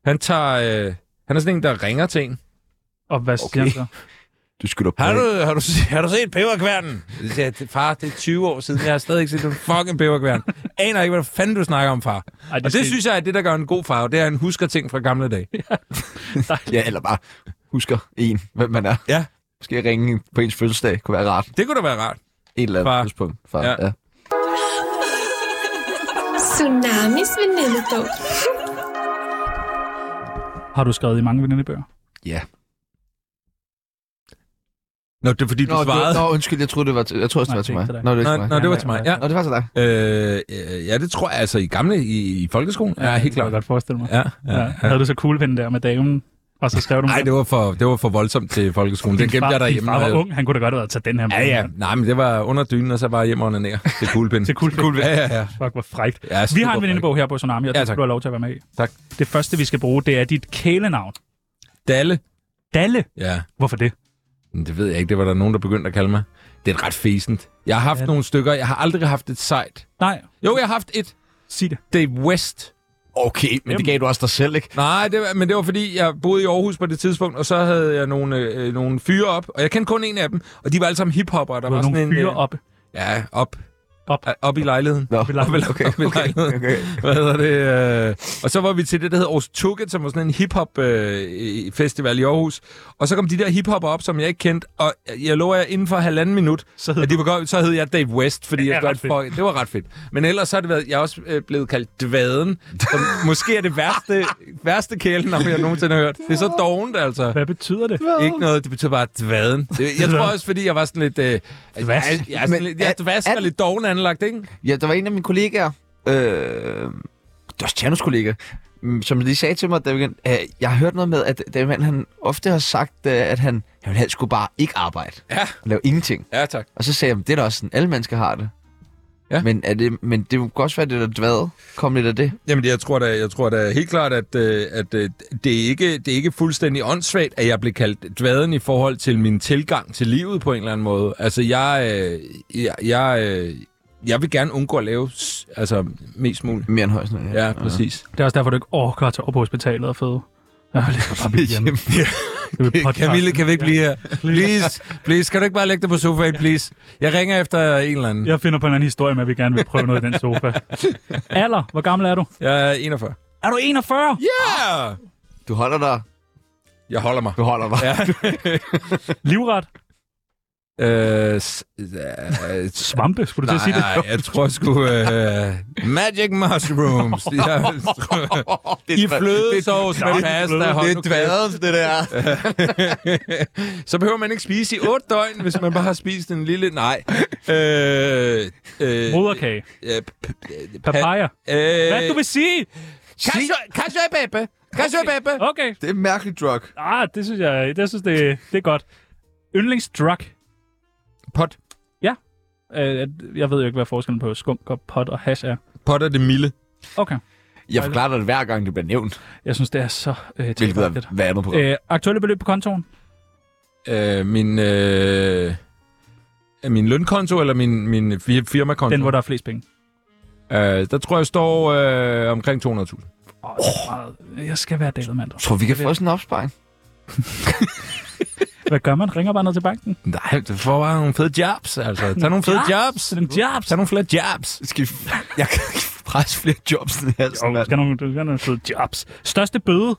Han tager... Øh, han er sådan en, der ringer til en. Og hvad siger han så? Du skal da Har du, har du, se- har du set peberkværnen? Så siger jeg, "Det- far, det er 20 år siden. Jeg har stadig ikke set en fucking peberkværn. Aner ikke, hvad fanden du snakker om, far. Ej, Og det synes jeg er det, der gør en god far, og det er, at han husker ting fra gamle dage. Ja, eller bare husker en, hvem man er. Ja. Måske ringe på ens fødselsdag, kunne være rart. Det kunne da være rart. Et eller Far. andet tidspunkt. Far. Ja. Ja. ja. Tsunamis venindebog. Har du skrevet i mange venindebøger? ja. Nå, det er fordi, du Nå, det, svarede. nå, undskyld, jeg troede, det var, til- jeg troede, også, det Nej, var til det er mig. ikke til dig. Nå, det var ikke til Nå, mig. nå, det var til mig. Ja, Nå, det var til dig. øh, øh, ja det tror jeg altså i gamle i, i folkeskolen. Ja, helt det kan klart. jeg godt forestille mig. Ja, ja, Ja. Havde du så kuglepinden der med damen, og så skrev du Nej, det var for, det var for voldsomt til folkeskolen. Det gemte jeg Din derhjemme. far når var jeg- ung, han kunne da godt have været til den her. Ja, ja. Nej, men det var under dynen, og så bare hjem og ned til kuglepinden. Til kuglepinden. Ja, ja, ja. Fuck, hvor frægt. ja Vi super har en fræk. venindebog her på Tsunami, og Ja, ja, det tak. skal du have lov til at være med i. Tak. Det første, vi skal bruge, det er dit kælenavn. Dalle. Dalle. Ja, Hvorfor det? men det ved jeg ikke. Det var der nogen, der begyndte at kalde mig. Det er ret fæsent. Jeg har haft Ja. nogle stykker. Jeg har aldrig haft et sejt. Nej, Jo, jeg har haft et. sig det. Dave West. Okay, men det gav du også dig selv, ikke? Nej, det var, men det var fordi, jeg boede i Aarhus på det tidspunkt, og så havde jeg nogle, øh, nogle fyre op. Og jeg kendte kun en af dem, og de var alle sammen hiphopper. Der Du var har nogle sådan en, fyre øh, op. Ja, op. Op. Op i lejligheden. Nå, Vi lader Op i, okay, op i lejligheden. okay. Hvad hedder det? Øh, og så var vi til det, der hedder Aarhus Tukket, som var sådan en hip-hop-festival i Aarhus. Og så kom de der hiphopper op, som jeg ikke kendte, og jeg lover jer, inden for halvanden minut, Så hed at de var godt, så hed jeg Dave West, fordi Det er jeg godt ret fedt. for, det var ret fedt. Men ellers så har det været, jeg er også øh, blevet kaldt Dvaden, som måske er det værste, værste kælenavn, jeg nogensinde har hørt. Det er så dovent, altså. Hvad betyder det? Ikke noget, det betyder bare dvaden. Det- Jeg tror også, fordi jeg var sådan lidt... Øh, Dvas. Jeg, jeg, er sådan Men lidt, jeg er- dvask er- og lidt doven anlagt, ikke? Ja, der var en af mine kollegaer, øh, det var også Tjernos kollega, mm, som lige sagde til mig, da vi, øh, jeg har hørt noget med, at den mand, han ofte har sagt, øh, at han, han helst skulle bare ikke arbejde. Ja. Lave ingenting. Ja, tak. Og så sagde jeg, "Men det er da også sådan, alle mennesker har det. Ja. Men, er det, men det kunne også være, det der dvade kom lidt af det. Jamen, jeg tror da, jeg tror da helt klart, at, øh, at øh, det, er ikke, det er ikke fuldstændig åndssvagt, at jeg blev kaldt dvaden i forhold til min tilgang til livet på en eller anden måde. Altså, jeg, øh, jeg, jeg, øh, jeg vil gerne undgå at lave s- altså, mest muligt. Mere end højst. noget, Ja, præcis. Det er også derfor, du ikke orker at tage op på hospitalet og føde. Jeg vil bare blive hjemme. Det er podcast. Camille, kan vi ikke blive her? Please, please, kan du ikke bare lægge dig på sofaen, please? Jeg ringer efter en eller anden. Jeg finder på en eller anden historie med, at vi gerne vil prøve noget i den sofa. Alder, hvor gammel er du? Jeg er 41. Er du 41? Ja! Yeah! Du holder dig. Jeg holder mig. Du holder dig. Ja. Livret? øh, s- øh, s- Svampe, skulle du til at sige det? Nej, jeg tror sgu... Øh, Magic mushrooms. Jeg, I flødesovs med pasta. Hold Det nu er kæft. dvadet, det der. Så behøver man ikke spise i otte døgn, hvis man bare har spist en lille... Nej. Øh, øh, Moderkage? øh, p- p- pa- Papaya? Øh, Hvad du vil sige? Kasjøbæbe. Kasjøbæbe. Okay. Det er en mærkelig drug. Ah, det synes jeg, det synes det, det er godt. Yndlingsdrug. Pot. Øh, at- Jeg ved jo ikke, hvad forskellen på skunk og pot og hash er. Pot er det milde. Okay. Jeg forklarer dig det hver gang, det bliver nævnt. Jeg synes, det er så øh, Hvilket tilfældigt. er hvad andet på. Øh, aktuelle beløb på kontoen? Øh, min... Øh, min lønkonto eller min, min fir- firmakonto? Den, hvor der er flest penge. Øh, der tror jeg står øh, omkring 200.000. Åh, det er meget- jeg skal være dalet mand. Tror vi kan få sådan en opsparing? Hvad gør man? Ringer bare ned til banken? Nej, du får bare nogle fede jobs, altså. Tag nogle fede jobs. Det er en jobs. Tag nogle flere jobs. Skal vi... Jeg kan ikke presse flere jobs ned i halsen, Jo, du mand. skal nogle, du skal nogle fede jobs. Største bøde.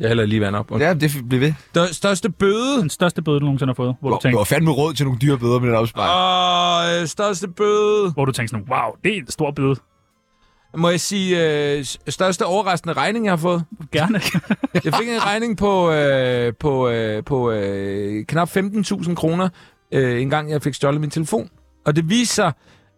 Jeg hælder lige vand op. Ja, det bliver ved. Den største bøde. Den største bøde, du nogensinde har fået. Hvor du Du, du tænker, har fandme råd til nogle dyre bøder med den Ah. opsparing. Åh, øh, største bøde. hvor du tænker sådan, wow, det er en stor bøde. Må jeg sige, øh, s- største overraskende regning, jeg har fået? Gerne. Jeg fik en regning på, øh, på, øh, på øh, knap 15.000 kroner, øh, en gang jeg fik stjålet min telefon. Og det viste sig,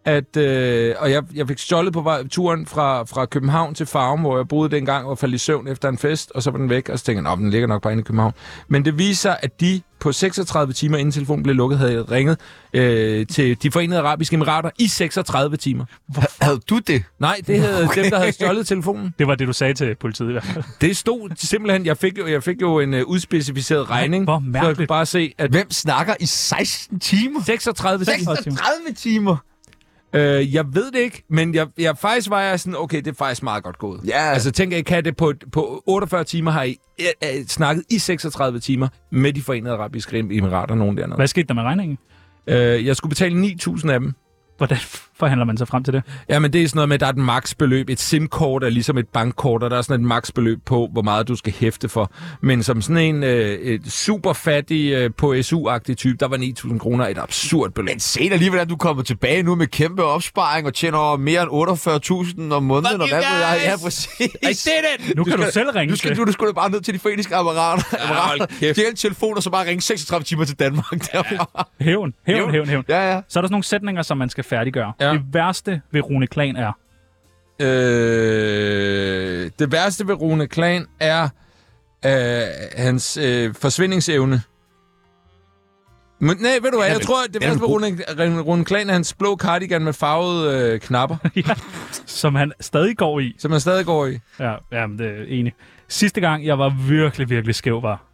at, øh, og jeg, jeg fik stjålet på vej, turen fra, fra København til Farum, hvor jeg boede dengang og faldt i søvn efter en fest, og så var den væk, og så tænkte jeg, "Nå, den ligger nok bare inde i København. Men det viste sig, at de på 36 timer, inden telefonen blev lukket, havde jeg ringet øh, til de forenede arabiske emirater i 36 timer. Havde du det? Nej, det havde okay. dem, der havde stjålet telefonen. Det var det, du sagde til politiet i hvert fald. Det stod simpelthen, jeg fik jo, jeg fik jo en uh, udspecificeret regning. hvor Så jeg kunne mærkeligt. bare se, at Hvem snakker i 16 timer? 36 timer. 36 timer? Øh, jeg ved det ikke, men jeg, jeg faktisk var jeg sådan, okay, det er faktisk meget godt gået. Ja. Altså tænk, jeg kan det på, på 48 timer, har I øh, øh, snakket i 36 timer med de forenede arabiske emirater, nogen dernede. Hvad skete der med regningen? Øh, jeg skulle betale 9.000 af dem. Hvordan forhandler man sig frem til det? Jamen, det er sådan noget med, at der er et maksbeløb. Et SIM-kort er ligesom et bankkort, og der er sådan et maksbeløb på, hvor meget du skal hæfte for. Men som sådan en øh, et super fattig øh, på SU-agtig type, der var 9.000 kroner et absurd beløb. Men se da lige, hvordan du kommer tilbage nu med kæmpe opsparing og tjener mere end 48.000 om måneden, og hvad ved jeg? Ja, præcis. did Nu kan du selv ringe Nu skal til. du, du skulle bare ned til de foreningske apparater. apparater. hold kæft. Stjæl en telefon, og så bare ringe 36 timer til Danmark. Derfra. Hævn, hævn, Hævn. hævn, hævn. Ja, ja. Så er der sådan nogle sætninger, som man skal færdiggøre. Ja. Det værste ved Rune Klan er... Øh, det værste ved Rune Klan er øh, hans øh, forsvindingsevne. Men, nej, ved du hvad, jeg tror, at det værste ved Rune, Rune Klan er hans blå cardigan med farvede øh, knapper, ja, som han stadig går i. som han stadig går i. Ja, jamen, det er enig. Sidste gang, jeg var virkelig, virkelig skæv, var...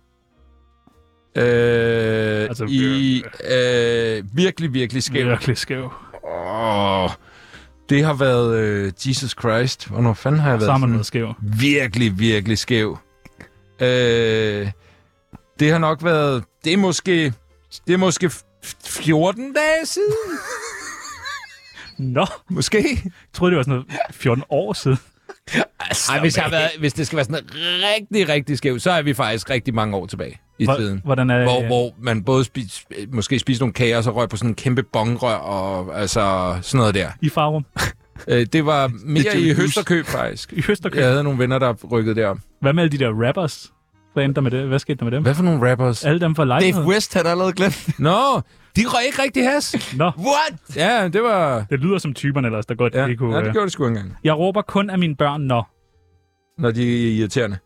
Øh, Altså, altså, i øh, virkelig, virkelig skæv. Ja. Virkelig skæv. Oh, det har været øh, Jesus Christ. Hvornår fanden har jeg Så har været man sådan noget skæv. virkelig, virkelig skæv? Øh, det har nok været... Det er måske... Det er måske f- 14 dage siden. Nå, Måske. jeg troede, det var sådan noget 14 år siden. Ej, hvis, jeg har været, hvis det skal være sådan rigtig, rigtig skæv, så er vi faktisk rigtig mange år tilbage i Hvor- tiden. Hvordan er øh, Hvor, hvor man både spis, måske spiste nogle kager, og så røg på sådan en kæmpe bongrør, og altså sådan noget der. I Farum? Øh, det var Det er mere Johnny i Hus. Høsterkøb, faktisk. I Østerkøb? Jeg havde nogle venner, der rykkede derop. Hvad med alle de der rappers? Hvad endte der med det? Hvad skete der med dem? Hvad for nogle rappers? Alle dem fra Dave lejligheden? West havde allerede glemt. Nå, de røg ikke rigtig has. Nå, What? Ja, det var... det lyder som typerne ellers, der godt Ja, ikke kunne... ja, øh, det gjorde det sgu engang, Jeg råber kun af mine børn, når... når de er irriterende.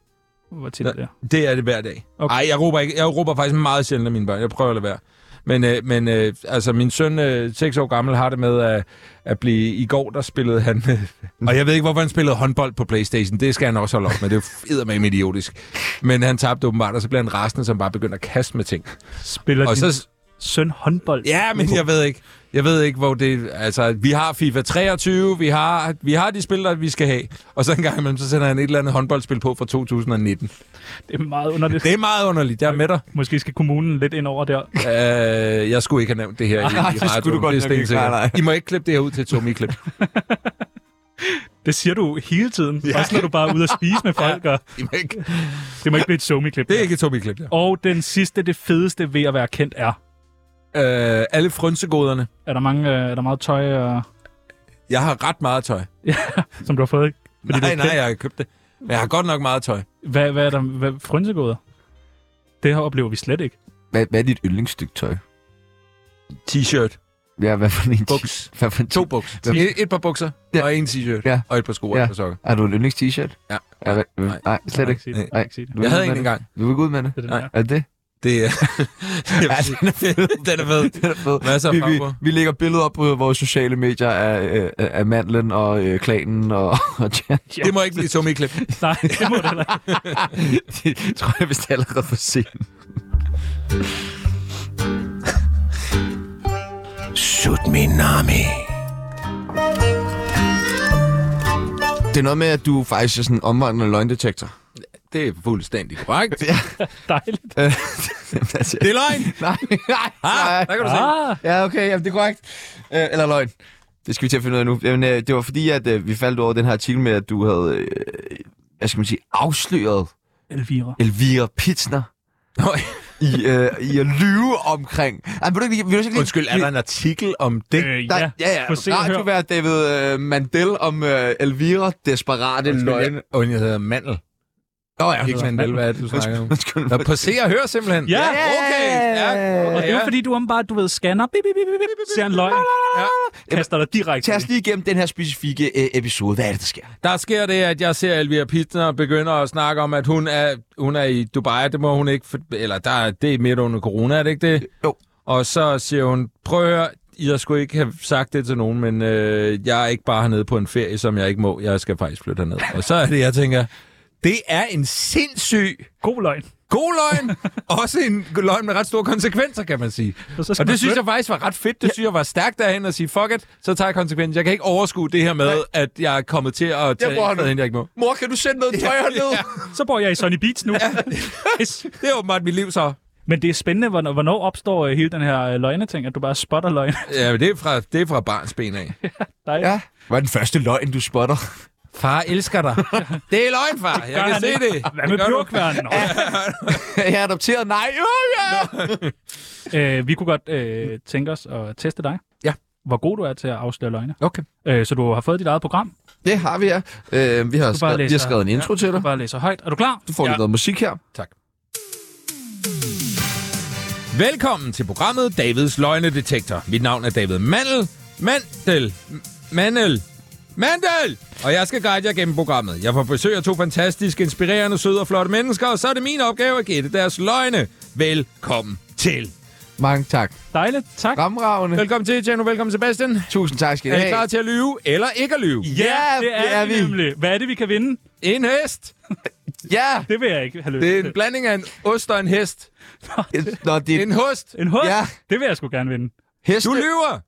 Hvor tit er det? Det er det hver dag. Okay. Okay. Ej, jeg råber, ikke, jeg råber faktisk meget sjældent af mine børn. Jeg prøver at lade være. Men, øh, men øh, altså, min søn, øh, 6 år gammel, har det med at, at blive... I går, der spillede han... Øh, og jeg ved ikke, hvorfor han spillede håndbold på Playstation. Det skal han også holde op med. Det er jo med idiotisk. Men han tabte åbenbart, og så blev han rasende, som bare begyndte at kaste med ting. Spiller Og din så, søn håndbold? Ja, men jeg ved ikke. Jeg ved ikke, hvor det... Altså, vi har FIFA 23, vi har, vi har de spil, der vi skal have. Og så en gang imellem, så sender han et eller andet håndboldspil på fra 2019. Det er meget underligt. Det er meget underligt, jeg er med dig. Måske skal kommunen lidt ind over der. Øh, jeg skulle ikke have nævnt det her i, i radioen. det skulle du godt er nok ikke. stensikkert. Nej, nej. I må ikke klippe det her ud til et Tommy-klip. Det siger du hele tiden. Ja. Også når du bare er ude og spise med folk. Og I må ikke. det må ikke blive et somi-klip. Det er ikke et Tommy-klip, der. Og den sidste, det fedeste ved at være kendt er... Øh, alle frynsegoderne. Er der, mange, øh, er der meget tøj, øh, Jeg har ret meget tøj. som du har fået? ikke? Nej, Fordi du er nej, kendt. jeg har købt det. Men jeg har godt nok meget tøj. Hvad, hvad er der hvad, frynsegoder? Det her oplever vi slet ikke. Hvad, hvad er dit yndlingsstykke tøj? T-shirt. Ja, hvad for en Buks. Hvad for en To bukser. Hvem- Et, et par bukser. Ja. Og en t-shirt. Ja. Og et par sko og Ja. et par sokker. Har du en yndlings t-shirt? Ja. ja hvad, Nej. nej, slet Jeg ikke. kan sige det. Jeg kan Nej. ikke sige det. Du er Jeg havde ikke en med engang. Du vil gå ud med det. Det er den Nej. der. Er det det? Det er... Ja, den er fed. den er fed. Den er fed. Masser af vi, vi, farver. vi lægger billeder op på vores sociale medier af, øh, af mandlen og øh, klanen og, og Jan. Ja. Det må ikke blive tomme i klip. Nej, det må det heller ikke. Det tror jeg vist allerede for sent. Sut min nami. Det er noget med, at du faktisk er sådan en omvandrende løgndetektor. Det er fuldstændig korrekt. Dejligt. det er løgn! nej, nej, Ah, der kan du se. Ah, Ja, okay, jamen, det er korrekt. Øh, eller løgn. Det skal vi til at finde ud af nu. Jamen, øh, det var fordi, at øh, vi faldt over den her artikel med, at du havde, øh, hvad skal man sige, afsløret Ah, Elvira. Elvira Pitsner Nå, i, øh, i at lyve omkring. Ej, vil du ikke, lige- vil du ikke lige- Undskyld, er der en artikel om det? Øh, Der, ja, ja, ja. På se og hør. Radiovært David øh, Mandel om øh, Elvira Desperate Løgn. Løgn. Og jeg hedder Mandel. Nå ja, ikke Mandel, hvad er det, du snakker om? Undskyld. Nå, på se og hør simpelthen. Ja. okay. Ja, Og det er jo ja. fordi, du åbenbart, du ved, scanner, bip, bip, bip, bip, bip, ser en løgn, Ja. kaster dig direkte. Tag os lige igennem den her specifikke øh, episode. Hvad er det, der sker? Der sker det, at jeg ser Elvira Pitsner begynder at snakke om, at hun er, hun er i Dubai. Det må hun ikke... For, eller der, er- det er midt under corona, er det ikke det? Jo. Og så siger hun, prøv at høre, jeg skulle ikke have sagt det til nogen, men øh, jeg er ikke bare hernede på en ferie, som jeg ikke må. Jeg skal faktisk flytte herned. Og så er det, jeg tænker, det er en sindssyg God løgn. god løgn. også en løgn med ret store konsekvenser, kan man sige. Og så skal Og man det synes flytte. jeg faktisk var ret fedt. Det synes jeg var stærkt derhen at sige, fuck it, så tager jeg konsekvensen. Jeg kan ikke overskue det her med, at jeg er kommet til at tage bruger jeg noget, jeg ikke må. Mor, kan du sende noget tøj herned? Så bor jeg i Sunny Beach nu. Yes. Det er åbenbart mit liv så. Men det er spændende, hvornår, hvornår opstår øh, hele den her øh, løgneting, at du bare spotter løgn. Ja, men det er fra, det er fra barns ben af. Dejligt. Ja. Hvad er den første løgn, du spotter? Far elsker dig. det er løgn, far. Jeg kan han se ikke. det. Hvad med Det gør du. pjorkværnen? Nå, jeg er adopteret. Nej. Oh, yeah. Øh, vi kunne godt øh, tænke os at teste dig. Ja. Hvor god du er til at afsløre løgne. Okay. Øh, så du har fået dit eget program. Det har vi, ja. Øh, vi, har bare skrevet, vi har læser. skrevet en intro til Du dig. bare læser højt. Er du klar? Du får ja. lidt noget musik her. Velkommen til programmet Davids Løgnedetektor. Mit navn er David Mandel. Mandel. M- Mandel. Mandel! Og jeg skal guide jer gennem programmet. Jeg får besøg af to fantastiske, inspirerende, søde og flotte mennesker, og så er det min opgave at gætte deres løgne. Velkommen til. Mange tak. Dejligt. Tak. Ramravende. Velkommen til, Tjerno. Velkommen, Sebastian. Tusind tak skal I Er I have. klar til at lyve eller ikke at lyve? Ja, det er, det er vi vi. nemlig. Hvad er det, vi kan vinde? En hest. Ja. Det vil jeg ikke have lyst Det er en til. blanding af en ost og en hest. Nå, det er En host. En hund? Ja. Det vil jeg sgu gerne vinde. heste, Du lyver.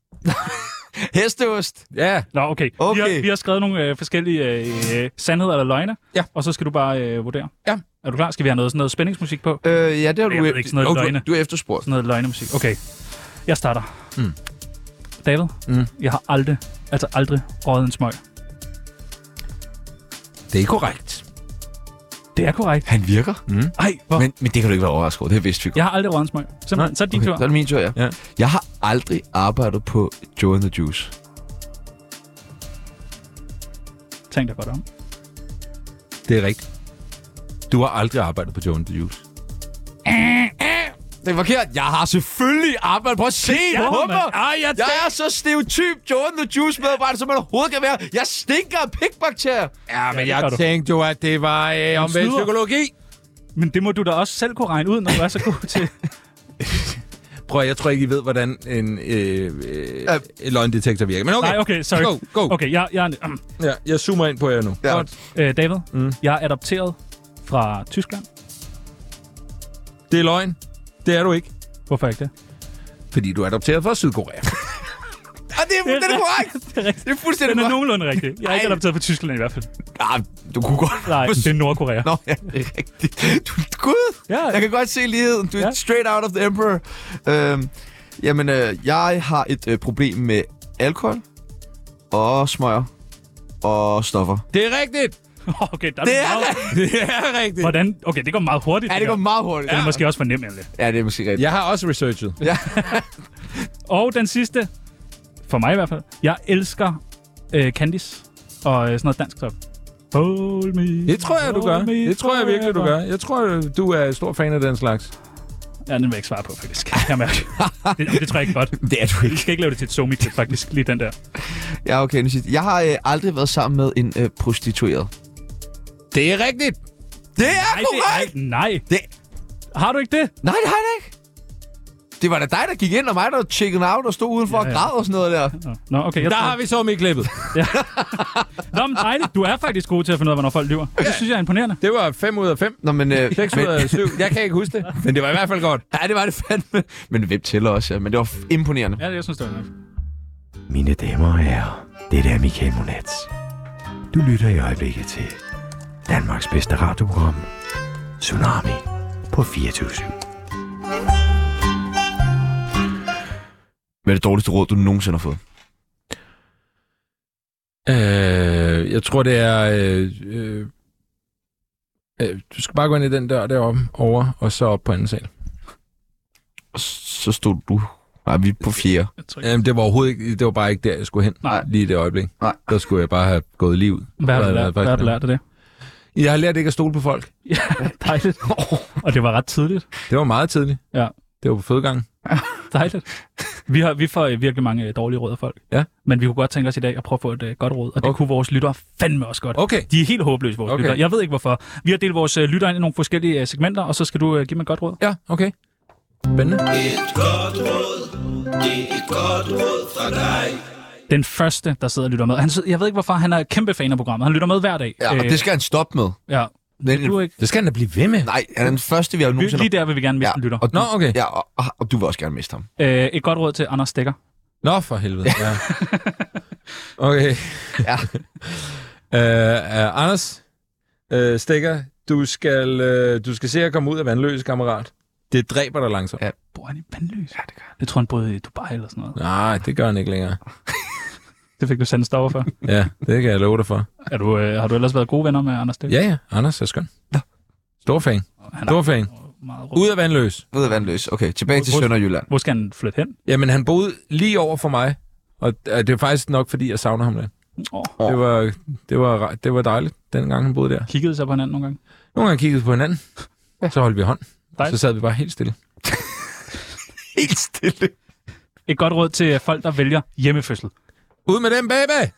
hesteost. Ja. Nå, okay. Vi, Okay. har, vi har skrevet nogle øh, forskellige øh, sandheder eller løgne, Ja. og så skal du bare øh, vurdere. Ja. Er du klar? Skal vi have noget, sådan noget spændingsmusik på? Øh, ja, det har du, Jeg ved ikke, sådan noget Jo, løgne. du, du er efterspurgt. Sådan noget løgnemusik. Okay, jeg starter. Mm. David, Mm. jeg har aldrig, altså aldrig røget en smøg. Det er korrekt. Det er korrekt. Han virker. Ej, hvor? Men, men det kan du ikke være overrasket over. Det vidste vi godt. Jeg har aldrig røget en smøg. Simpelthen, så er det din tur. Så er det min tur, ja. Ja. ja. Jeg har aldrig arbejdet på Joe and the Juice. Tænk dig godt om. Det er rigtigt. Du har aldrig arbejdet på Joan the Juice. Det er forkert. Jeg har selvfølgelig arbejdet på at se Ja, på mig. mand. Ej, jeg Jeg er så stereotyp Joe and the Juice medarbejder, som man overhovedet kan være. Jeg stinker af pikbakterier. Ja, men det gør jeg du. tænkte jo, at det var øh, omvendt snyder. psykologi. Men det må du da også selv kunne regne ud, når du er så god til. Prøv at- jeg tror ikke, I ved, hvordan en øh, øh, Øh. øh. løgndetektor virker. Men okay, Nej, okay, sorry. Go, go. Okay, jeg, jeg, er- Ja, jeg zoomer ind på jer nu. Ja. øh, David, mm. jeg er adopteret fra Tyskland. Det er løgn. Det er du ikke. Hvorfor ikke det? Fordi du er adopteret fra Sydkorea. Og det er, det er korrekt. Det er rigtigt. Det er fuldstændig Den er korrekt. nogenlunde rigtig. Jeg er ikke Ej. adopteret fra Tyskland i hvert fald. Ah, du kunne godt... Nej, det er Nordkorea. Nå, ja, det er rigtigt. Du, Gud, Ja. jeg kan godt se ligheden. Du er Ja. straight out of the emperor. Øhm, jamen, øh, jeg har et øh, problem med alkohol og smøger og stoffer. det er rigtigt. Okay, der er Det er meget... Det er rigtigt. Hvordan? Okay, det går meget hurtigt. Ja, det her. går meget hurtigt. Den er måske også for nem, egentlig. Ja, det er måske rigtigt. Jeg har også researchet. Og den sidste, for mig i hvert fald. Jeg elsker øh, Candice og øh, sådan noget dansk top. Hold me, Det tror jeg, du gør. hold me Det tror jeg virkelig, du forever. gør. Jeg tror, du er stor fan af den slags. Ja, den vil jeg ikke svare på, faktisk. Kan jeg mærke. det, det tror jeg ikke godt. Det er du Vi skal ikke lave det til et somi faktisk. Lige den der. Ja, okay. nu siger Jeg Jeg har øh, aldrig været sammen med en øh, prostitueret. Det er rigtigt. Det er Nej, det er ikke. Nej. Det- Har du ikke det? Nej, det har jeg da ikke. Det var da dig, der gik ind, og mig, der chicken out og stod udenfor Ja, ja, ja. ja. og græd og sådan noget der. Nå, Nå okay. Jeg Der tror- har vi så i klippet. Nå, men dejligt. Du er faktisk god til at finde ud af, hvornår folk lyver. Det synes jeg er imponerende. Det var 5 ud af 5. Nå, men... Øh, 6 ud men af 7. Jeg kan ikke huske det, men det var i hvert fald godt. ja, det var det fandme. Men hvem tæller også, ja. Men det var f- imponerende. Ja, det jeg synes, det var nok. Mine damer og herrer, det er Michael Monats. Du lytter i øjeblikket til Danmarks bedste radioprogram, Tsunami på 24 Hvad er det dårligste råd, du nogensinde har fået? Øh, jeg tror, det er... Øh, øh, øh, du skal bare gå ind i den dør deroppe over, og så op på anden sal. Så stod du... Nej, vi er på fjerde. Jamen, det var overhovedet ikke, det var bare ikke der, jeg skulle hen Nej. lige i det øjeblik. Nej. Der skulle jeg bare have gået lige ud. Hvad har du Der havde lært, faktisk- hvad har du lært af det? Jeg har lært ikke at stole på folk. Dejligt. Og det var ret tidligt. Det var meget tidligt. Ja. Det var på fødegangen. Dejligt. Vi, har, vi får øh, virkelig mange øh, dårlige råd af folk. Ja. Men vi kunne godt tænke os i dag at prøve at få et øh, godt råd, og det Okay. kunne vores lyttere fandme også godt. Okay. De er helt håbløse, vores Okay. okay. lyttere. Jeg ved ikke hvorfor. Vi har delt vores øh, lyttere ind i nogle forskellige øh, segmenter, og så skal du øh, give mig et godt råd. Ja, okay. Spændende. Den første, der sidder og lytter med. Han, sidder- jeg ved ikke hvorfor, han er kæmpe fan af programmet. Han lytter med hver dag. Ja, og Øh. det skal han stoppe med. Ja. Men, Du er ikke... Det skal han da blive ved med. nej, han er den første, vi har Vi- nogensinde... Lige der vil vi gerne miste ja. en lytter. og du, Nå, okay. ja, og, og, og, du vil også gerne miste ham. Øh, et godt råd til Anders Stikker. Nå, for helvede. Ja. Okay. Ja. øh, øh, Anders, øh, Stikker, du skal, øh, du skal se at komme ud af vandløse, kammerat. Det dræber dig langsomt. Ja. Bor han i vandløs? Ja, det gør han. Jeg tror, han boede i Dubai eller sådan noget. Nej, det gør han ikke længere. Det fik du sendt stopper for. Ja, det kan jeg love dig for. er du, øh, har du ellers været gode venner med Anders Stikker? Ja, ja, Anders er skøn. Stor fan. Han er Stor fan. meget rød. Ud af vandløs. Ved at vandløs. Okay, tilbage til Hvor- hvor- Sønderjylland. Hvor skal han flytte hen? Jamen, han boede lige over for mig. Og øh, det er faktisk nok, fordi jeg savner ham lidt. Oh, Det var, det, var, re- det var dejligt, dengang han boede der. kiggede sig på hinanden nogle gange. Nogle gange kiggede vi på hinanden, så holdt vi hånd. Så Dejligt. sad vi bare helt stille. Helt stille. Et godt råd til folk, der vælger hjemmefødsel. Ud med dem, baby!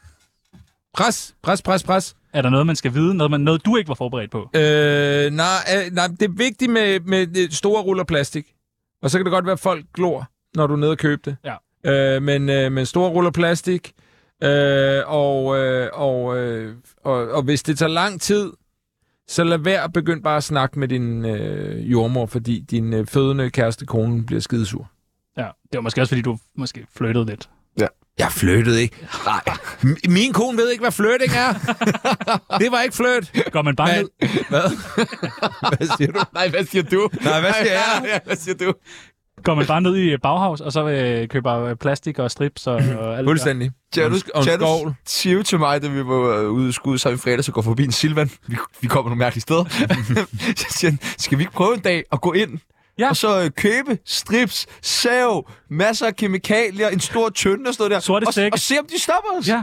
Pres, pres, pres, pres. Er der noget, man skal vide? Noget, man, noget du ikke var forberedt på? Øh, nej, øh, nej, det er vigtigt med, med det store ruller plastik. Og så kan det godt være, at folk glor, når du er nede og købe det. Ja. Øh, men, øh, men store ruller plastik. Øh, og, øh, og, øh, og, og hvis det tager lang tid, så lad være at begynde bare at snakke med din øh, jordmor, fordi din øh, fødende kæreste kone bliver skidesur. Ja, det var måske også, fordi du måske flyttede lidt. Jeg flyttede ikke. Nej. M- Min kone ved ikke, hvad flirting er. det var ikke flirt. Går man bare ned, Hvad? hvad siger du? Nej, hvad siger du? Nej, hvad siger jeg? Ja, hvad siger du? går man bare ned i Bauhaus, og så øh, køber øh, plastik og strips og, og alt det der? Fuldstændig. Tja, du, Og en tja, skovl. du siger jo til mig, da vi var øh, ude i skud sammen i fredag, så går forbi en Silvan. Vi, vi kommer nogle mærkelige steder. så siger han, skal vi ikke prøve en dag at gå ind Ja. og så øh, købe strips, sav, masser af kemikalier, en stor tønde og sådan noget der. Sorte og, sække. og se, om de stopper os. Ja. Ja,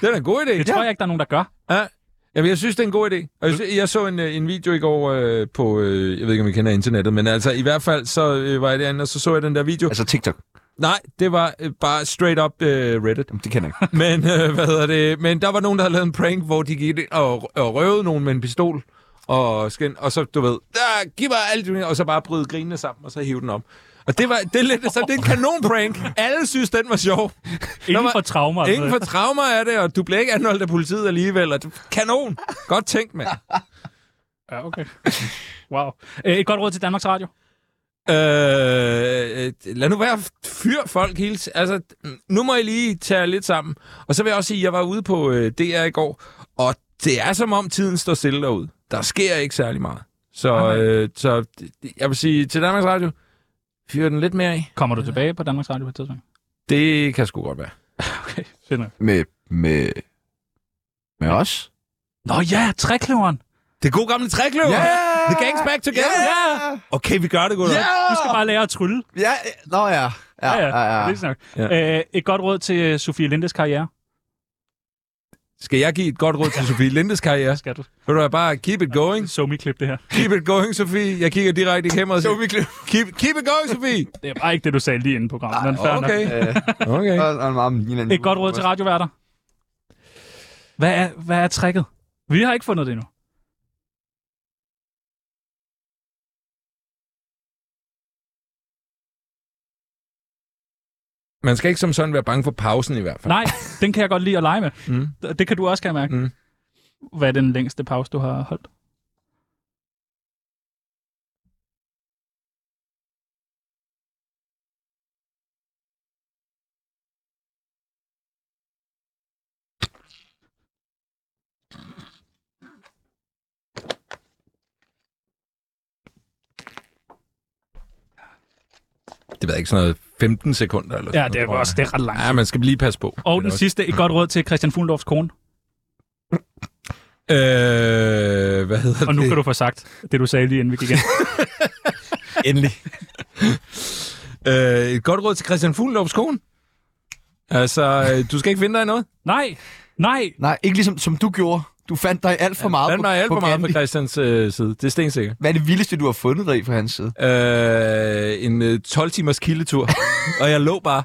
det er da en god idé. Det tror jeg Hm. ikke, der er nogen, der gør. Ja. Jamen, jeg synes, det er en god idé. Og jeg, jeg så en, øh, en video i går øh, på, øh, jeg ved ikke, om I kender internettet, men altså i hvert fald, så øh, var jeg derinde, og så så jeg den der video. Altså TikTok. Nej, det var øh, bare straight up øh, Reddit. Jamen, det kender jeg ikke. Men, øh, hvad hedder det? men der var nogen, der havde lavet en prank, hvor de gik ind og, og røvede nogen med en pistol og skin, og så, du ved, der, giv mig alt, du har," og så bare bryde grinene sammen, og så hive den op. Og det var det er lidt, så det er en kanon prank. Alle synes, den var sjov. Inden var- for traumer. altså. og Ingen sådan for noget. traumer er det, og du bliver ikke anholdt af politiet alligevel. Og det, kanon! Godt tænkt, mand. Ja, okay. Wow. Øh, Et godt råd til Danmarks Radio. Øh, øh, lad nu være at fyr folk hele t- Altså, nu må I lige tage jer lidt sammen. Og så vil jeg også sige, at jeg var ude på øh, DR i går, og det er som om tiden står stille derude. Der sker ikke særlig meget. Så, øh, så det- det- jeg vil sige til Danmarks Radio, fyr den lidt mere af. Kommer du tilbage på Danmarks Radio på et tidspunkt? Det kan sgu godt være. Okay, fedt nok. Med, med, med os? Nå ja, trækløveren. Det gode gamle trækløver! Yeah! The gang's back together! Ja! Yeah! Okay, vi gør det godt. Yeah! Du skal bare lære at trylle. Ja, nå ja. Ja, ja, ja. Det er nok. Ja. Øh, et godt råd til øh, Sofie Lindes karriere. Skal jeg give et godt råd til Sofie Lindes karriere? Skal du? Vil du hvad, bare keep it going? So me klip det her. Keep it going, Sofie. Jeg kigger direkte i kameraet og siger, vi klip. keep, keep it going, Sofie. Det er bare ikke det, du sagde lige inden på programmet. men fair nok. Okay. Øh, okay. Et godt råd til radioværter. Hvad er, hvad er tricket? Vi har ikke fundet det endnu. Man skal ikke som sådan være bange for pausen i hvert fald. Nej, den kan jeg godt lide at lege med. Mm. D- Det kan du også, kan jeg mærke. Mm. Hvad er den længste pause, du har holdt? det ved jeg ikke, sådan noget 15 sekunder. Eller Ja, sådan det er noget, tror også- jeg. det er ret langt. Ja, man skal lige passe på. Og Det den er sidste, et godt råd til Christian Fuglendorfs kone. også- Øh, hvad hedder Og nu det? kan du få sagt det, du sagde lige inden vi gik ind. Endelig. Øh, et godt råd til Christian Fuglendorfs kone. Altså, øh, du skal ikke finde dig i noget. Nej, nej. Nej, ikke ligesom som du gjorde. Du fandt dig alt for meget Han var alt for meget på Gandhi. Christians øh, side. Det er stensikkert. Hvad er det vildeste, du har fundet dig i fra hans side? Øh, en øh, 12-timers kildetur. og jeg lå bare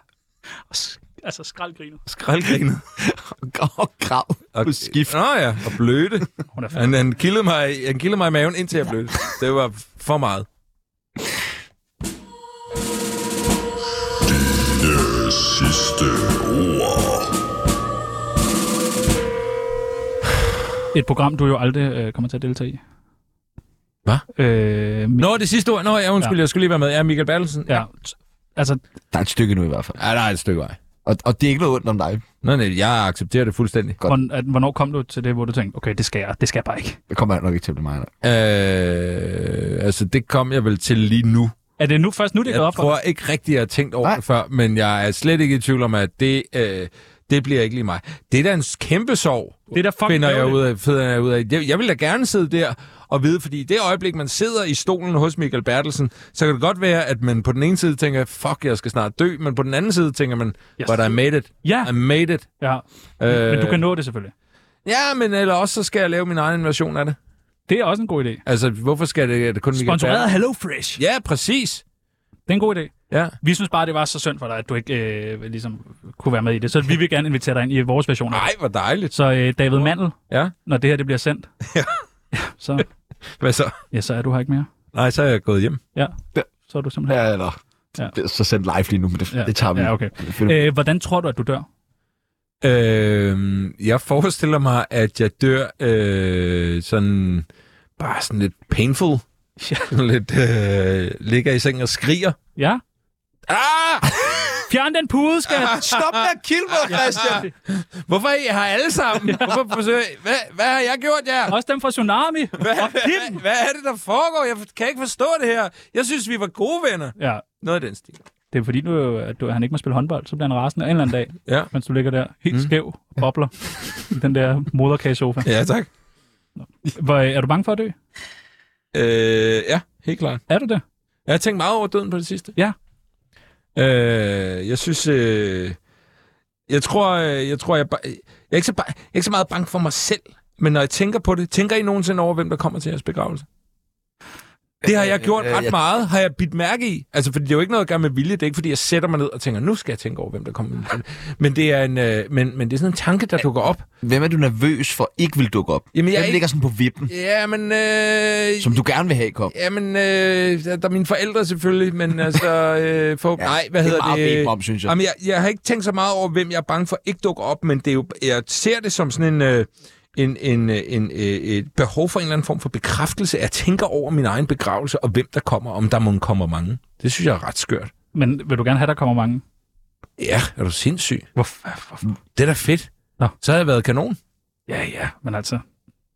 Altså, skraldgriner. skraldgrinet. Og grav på skift. Nå ja, og blødte. Hun er fandme. Han, han, kildede mig, han kildede mig i maven, indtil jeg blødte. Det var for meget. Det sidste ord. Et program, du jo aldrig øh, kommer til at deltage i. Hvad? Øh, min, Nå, det sidste ord. Nå, ja, undskyld, ja. jeg skulle lige være med. Ja, Michael Bertelsen. ja. Altså, Der er et stykke nu i hvert fald. ja der er et stykke vej. Og, og det er ikke noget ondt om dig. Nå, nej, jeg accepterer det fuldstændig. hvorn, at, hvornår kom du til det, hvor du tænkte, okay, det skal jeg, det skal jeg bare ikke. Det kommer jeg nok ikke til at blive mig. nej. Øh, altså, det kom jeg vel til lige nu. Er det nu først nu, det er gået Jeg op for tror ikke rigtigt, jeg har tænkt over Nej. det før, men jeg er slet ikke i tvivl om, at det, øh, det bliver ikke lige mig. Det er da en kæmpe sorg, Det er da fucking finder jeg ærgerligt. ud af. Finder jeg, ud af. Jeg, jeg vil da gerne sidde der og vide, fordi i det øjeblik, man sidder i stolen hos Michael Bertelsen, så kan det godt være, at man på den ene side tænker, fuck, jeg skal snart dø, men på den anden side tænker man, Yes. but I made it. Ja, I made it. Øh, ja. Men du kan nå det selvfølgelig. Ja, men eller også, så skal jeg lave min egen version af det. Det er også en god idé. Altså, hvorfor skal det, er det kun Michael Sponsoreret af Bertelsen? HelloFresh. Ja, præcis. Det er en god idé. Ja. Vi synes bare, det var så synd for dig, at du ikke øh, ligesom kunne være med i det. Så vi vil gerne invitere dig ind i vores version. af det. Nej, hvor dejligt. Så øh, David Mandel, Ja. når det her det bliver sendt, ja. så, Hvad så? ja, så er du her ikke mere. Nej, så er jeg gået hjem. Ja, Ja. så er du simpelthen... Ja, eller... Ja. Ja. Det er så sendt live lige nu, men det, Ja. ja. det tager vi. Ja, okay. Det finder- Øh, hvordan tror du, at du dør? Øh, jeg forestiller mig, at jeg dør øh, sådan bare sådan lidt painful. Ja. Sådan lidt øh, ligger i sengen og skriger. Ja? Ah! Fjern den pude, skat! Stop med at kilde mig, Christian! Hvorfor er I her alle sammen? ja. Hvorfor forsøger I? Hvad, hvad har jeg gjort jer? Også dem fra Tsunami! Og Kim! Hvad er det, der foregår? Jeg kan ikke forstå det her. Jeg synes, vi var gode venner. Ja, Noget af den stil. det er fordi, du, jo- at du, han ikke må spille håndbold, så bliver han rasende en eller anden dag, Ja. mens du ligger der helt mm. skæv og bobler i den der moderkagesofa. Ja, tak. Hvor, øh, er du bange for at dø? Øh, ja, helt klart. Er du det? Jeg har tænkt meget over døden på det sidste. Ja. Øh, jeg synes... Øh, jeg tror, øh, jeg, tror jeg, ba- jeg, er ikke så ba- jeg er ikke så meget bange for mig selv, men når jeg tænker på det, tænker I nogensinde over, hvem der kommer til jeres begravelse? Det har jeg gjort øh, ret jeg- meget, har jeg bidt mærke i. Altså, fordi det er jo ikke noget at gøre med vilje, det er ikke, fordi jeg sætter mig ned og tænker, nu skal jeg tænke over, hvem der kommer. Men det er, en, øh, men, men det er sådan en tanke, der dukker op. Hvem er du nervøs for ikke vil dukke op? Jamen, jeg er Hvem ikke- ligger sådan på vippen, Ja, men... Øh, som du gerne vil have kom? Jamen, øh, der der er mine forældre selvfølgelig, men altså... Øh, for, ja, nej, hvad det er hedder meget at bede det? dem om, synes jeg. Jamen, jeg, jeg har ikke tænkt så meget over, hvem jeg er bange for ikke dukker op, men det er jo, jeg ser det som sådan en... Øh, en, en, øh, en, øh, et behov for en eller anden form for bekræftelse. Jeg tænker over min egen begravelse, og hvem der kommer, om der må kommer mange. Det synes jeg er ret skørt. Men vil du gerne have, der kommer mange? Ja, er du sindssyg? Hvorfor? Hvorfor? Det er da fedt. Nå. Så havde jeg været kanon. Ja, ja, men altså...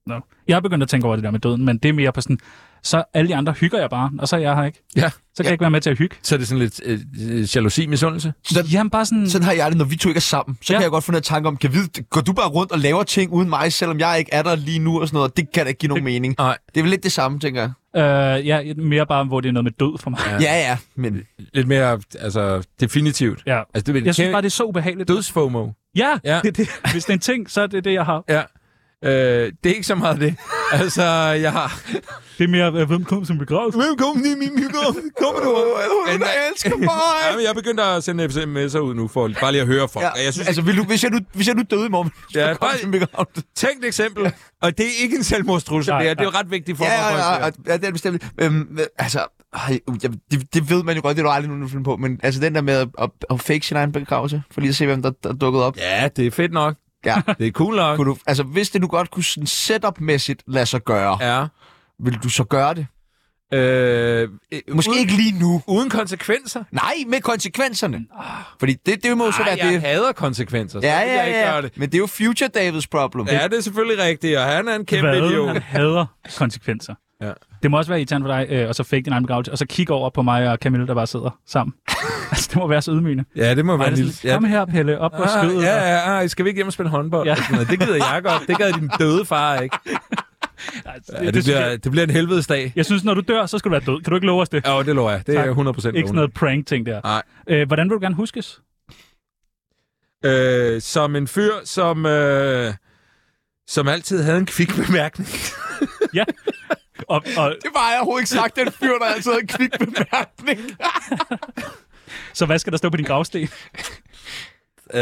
No. Jeg er begyndt at tænke over det der med døden, men det er mere på sådan... Så alle de andre hygger jeg bare, og så er jeg her ikke. Ja. Så kan jeg ikke være med til at hygge. Så er det sådan lidt øh, øh, jalousi, misundelse. Sådan, Jamen bare sådan... sådan har jeg det, når vi to ikke er sammen. Så Ja. ja. kan jeg godt få noget tanke om, kan jeg vide, går du bare rundt og laver ting uden mig, selvom jeg ikke er der lige nu og sådan noget? Det kan da ikke give nogen mening. Nej. Det er vel lidt det samme, tænker jeg. Øh, ja, mere bare, hvor det er noget med død for mig. Ja. Ja, ja, men Lidt mere altså, definitivt. Ja. Altså, det, Jeg synes bare, det er så ubehageligt. Dødsfomo. Ja, Ja. Det, er det, hvis det er en ting, så er det det, jeg har. Ja. Øh, det er ikke så meget det. altså, jeg har... Det er mere, øh, hvem kom som begravelse? Velkommen til min mygge. Kommer du? hun, der elsker mig! Jamen, jeg begynder at sende sms'er ud nu, for bare lige at høre folk. Ja. Jeg synes, altså, altså, vil du, hvis, jeg nu, hvis jeg nu døde i morgen, altså. så Ja, ja, kom bare- til begravelse. tænk et eksempel. Og det er ikke en selvmordstrussel, Nej, det, her. det er jo nej. ret vigtigt for Ja, mig. at ja, ja, pointere. ja, ja, det er bestemt. Øhm, altså, ej, uh, jeg- det, det ved man jo godt, det er du aldrig nogen, der finder på, men altså den der med at, at, at fake sin egen begravelse, for lige at se, hvem der, der dukkede op. ja, det er fedt nok. Ja. Det er cool nok. Kunne du, altså, hvis det nu godt kunne sådan setup-mæssigt lade sig gøre, ja. Ja. vil du så gøre det? Øh, Måske uden, ikke lige nu. Uden konsekvenser. Nej, med konsekvenserne. Fordi det, det må jo så Ej, være Ah. det. jeg hader konsekvenser. så Ja, vil jeg ikke ja, gøre ja. det. Men det er jo future Davids problem. Ja, det er selvfølgelig rigtigt, og han er en kæmpe Hvad? idiot. Han hader konsekvenser. Ja. Det må også være irriterende for dig, øh, og så fake din egen begravelse, og så kigge over på mig og Camille, der bare sidder sammen. altså, det må være så ydmygende. Ja, det må Mig, være der en lille... sådan, Ja. Kom her, Pelle, op på skødet. Ah, ja, ja, ja, skal vi ikke hjem og spille håndbold? Ja. Ja. Og sådan noget. Det gider jeg godt. Det gad din døde far, ikke? Altså, Ja, det, bliver, det bliver en helvedes dag. Jeg synes, når du dør, så skal du være død. Kan du ikke love os det? Ja, det lover jeg. Det er Tak. 100 procent Ikke sådan noget prank-ting der. Nej. Øh, hvordan vil du gerne huskes? Øh, som en fyr, som, øh, som altid havde en kvik bemærkning. Og, og, Det var jeg overhovedet ikke sagt, den fyr, der altid havde en kvik bemærkning. så hvad skal der stå på din gravsten? Øh, øh,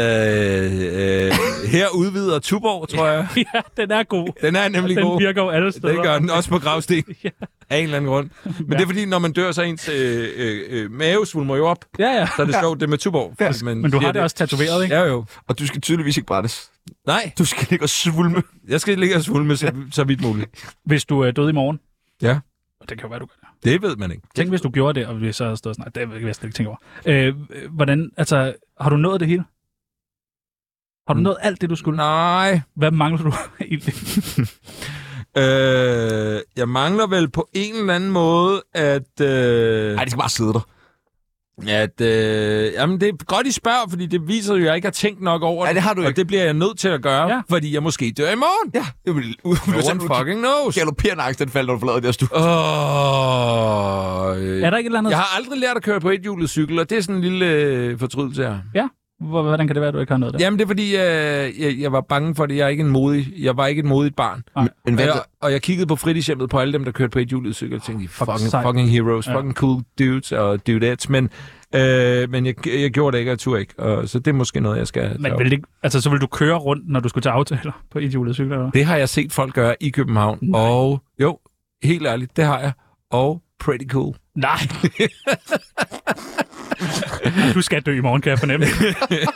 her udvider Tuborg, tror jeg. ja, den er god. Den er nemlig Den god. virker jo alle steder. Det gør den også på gravsten. Ja. Af en eller anden grund. Men det er fordi, når man dør, så er ens øh, øh, øh, mave svulmer jo op. Ja, ja. Så er det sjovt, det med Tuborg. fordi Man Men du siger har det også tatoveret, ikke? Ja, jo. Og du skal tydeligvis ikke brændes. Nej, Du skal ligge og svulme. jeg skal ligge og svulme så, så vidt muligt. Hvis du er død i morgen. Ja. Og det kan jo være, du gør det. Det ved man ikke. Tænk, hvis du gjorde det, og vi så havde stået sådan, nej, det vil jeg slet ikke tænke over. Øh, hvordan, altså, har du nået det hele? Har du nået alt det, du skulle? Nej. Hvad mangler du egentlig? Øh, jeg mangler vel på en eller anden måde, at... Øh, Nej, det skal bare sidde der. at øh, jamen, det er godt, I spørger, fordi det viser jo, at jeg ikke har tænkt nok over Nej, det har du Og ikke. det bliver jeg nødt til at gøre, Ja. ja. fordi jeg måske dør i morgen. Ja, det vil ud. No one fucking knows. Galopperende angst, den falder, når du forlader det her stue. Åh, øh, er der ikke et eller andet? jeg har aldrig lært at køre på ethjulet cykel, og det er sådan en lille øh, fortrydelse her. Hvor- Hvordan kan det være, at du ikke har nået det? Jamen, det er fordi, øh, jeg, jeg var bange for det. Jeg er ikke en modig, jeg var ikke et modigt barn. Men Og hvad, jeg, og jeg kiggede på fritidshjemmet på alle dem, der kørte på ethjulet cykel, og tænkte, fucking, sejt. fucking heroes, Ja. fucking cool dudes og dudettes, men, øh, men jeg, jeg gjorde det ikke, og jeg turde ikke, og, så det er måske noget, jeg skal... Men tage vil op. det, ikke- altså, så vil du køre rundt, når du skulle til aftaler på ethjulet cykler? Eller? hvad? det har jeg set folk gøre i København, Nej. og jo, helt ærligt, det har jeg, og pretty cool. Nej. du skal dø i morgen, kan jeg fornemme.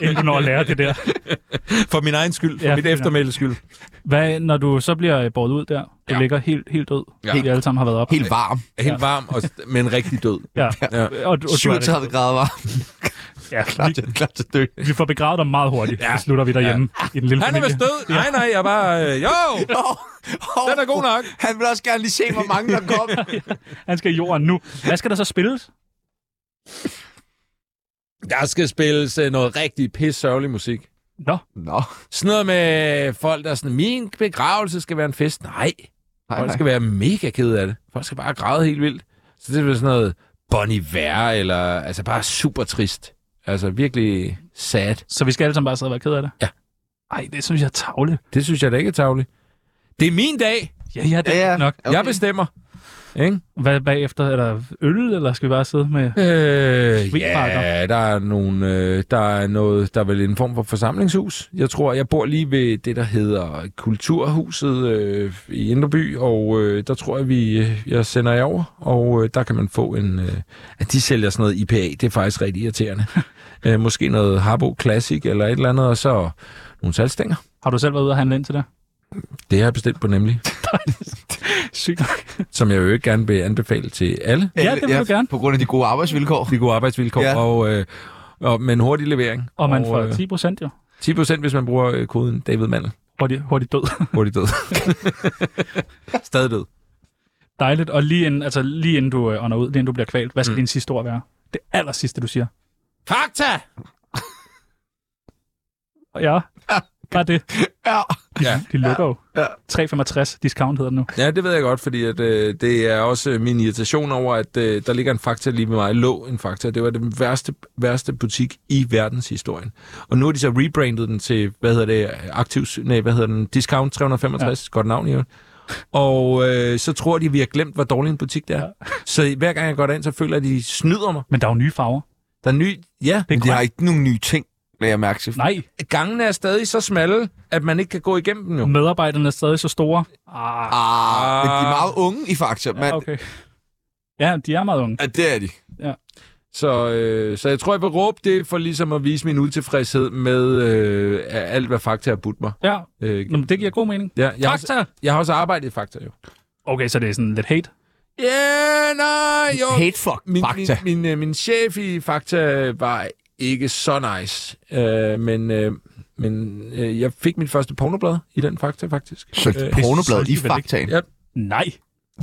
Inden du når at lære det der. For min egen skyld, for Ja, ja, mit ja. eftermældes skyld. Hvad, når du så bliver øh, båret ud der, du ja. Ja. ligger helt, helt død, ja. Ja. vi alle sammen har været op. helt varm. Helt varm, og, men rigtig død. Ja. Ja. Og, og, du er det. 37 grader varm. Ja, Klar vi, til, klar til at dø. vi får begravet dig meget hurtigt, ja. så slutter vi derhjemme ja. i den lille Han er familie. vist død. Nej, nej, jeg bare... Øh, jo, Oh, den er god nok. Han vil også gerne lige se, hvor mange der kom. Han skal i jorden nu. Hvad skal der så spilles? Der skal spilles øh, noget rigtig pis sørgelig musik. Nå, Nå, Sådan noget med folk, der er sådan, min begravelse skal være en fest. Nej, hej, folk hej. skal være mega kede af det. Folk skal bare græde helt vildt. Så det er vel sådan noget Bon Iver, eller altså bare super trist. Altså virkelig sad. så vi skal alle sammen bare sidde og være ked af det? Ja. Ej, det synes jeg er tavle. Det synes jeg da ikke er tavligt. Det er min dag. Ja, ja, det er Ja, ja, ja. nok. Okay. Jeg bestemmer. Ikke? Hvad bagefter? Er der øl, eller skal vi bare sidde med... Øh, Sweetmarker. ja, der er, nogle, øh, der er noget, der er vel en form for forsamlingshus. Jeg tror, jeg bor lige ved det, der hedder Kulturhuset øh, i Indreby, og øh, der tror jeg, vi, øh, jeg sender jer over, og øh, der kan man få en... Øh, at de sælger sådan noget IPA, det er faktisk rigtig irriterende. øh, måske noget Harbo Classic eller et eller andet, og så nogle salgstænger. Har du selv været ude og handle ind til det? Det har jeg bestilt på nemlig, Sygt som jeg jo ikke gerne vil anbefale til alle. Ja, det vil du gerne. På grund af de gode arbejdsvilkår. De gode arbejdsvilkår, Ja. ja. og, øh, og med en hurtig levering. Og man får øh, 10 procent jo. 10 procent, hvis man bruger øh, koden David Mandel. Hurtigt, hurtigt død. Hurtigt død. Stadig død. Dejligt. Og lige inden, altså, lige inden du øh, ånder ud, lige inden du bliver kvalt, hvad skal mm. Mm. din sidste ord være? Det aller sidste, du siger. Fakta! Og ja, bare det. Ja. Ja. De lukker jo. Ja. 3,65 discount hedder den nu. Ja, det ved jeg godt, fordi at, øh, det er også øh, min irritation over, at øh, der ligger en fakta lige ved mig. Lå en fakta. Det var den værste, værste butik i verdenshistorien. Og nu har de så rebrandet den til, hvad hedder det, aktivs, nej, hvad hedder den, Discount 365, ja. godt navn i øvrigt. Og øh, så tror de, vi har glemt, hvor dårlig en butik det er. Ja. Så hver gang jeg går derind, så føler jeg, at de snyder mig. Men der er jo nye farver. Der er ny... Ja, Det er Men de har grønt. ikke nogen nye ting, lader jeg mærke til. Nej, gangene er stadig så smalle, at man ikke kan gå igennem dem jo. medarbejderne er stadig så store. Ah, Ah, men de er Ah. meget unge i Fakta. ja, Men, okay. Ja, de er meget unge. ja, det er de. Så, øh, så jeg tror, jeg vil råbe det for ligesom at vise min utilfredshed med øh, alt, hvad Fakta har budt mig. Ja, Øh, Nå, men det giver god mening. ja, jeg, har, også- Fakta! jeg har også arbejdet i Fakta, jo. Okay, så det er sådan lidt hate. Ja, yeah, nej, jo. Hate fuck Min, Fakta. Min, min, øh, min chef i Fakta var ikke så nice, øh, men, øh, men øh, jeg fik mit første pornoblad i den Fakta, faktisk. Så Øh, pornoblad så i alligevel ikke. Faktaen. Ja. Nej.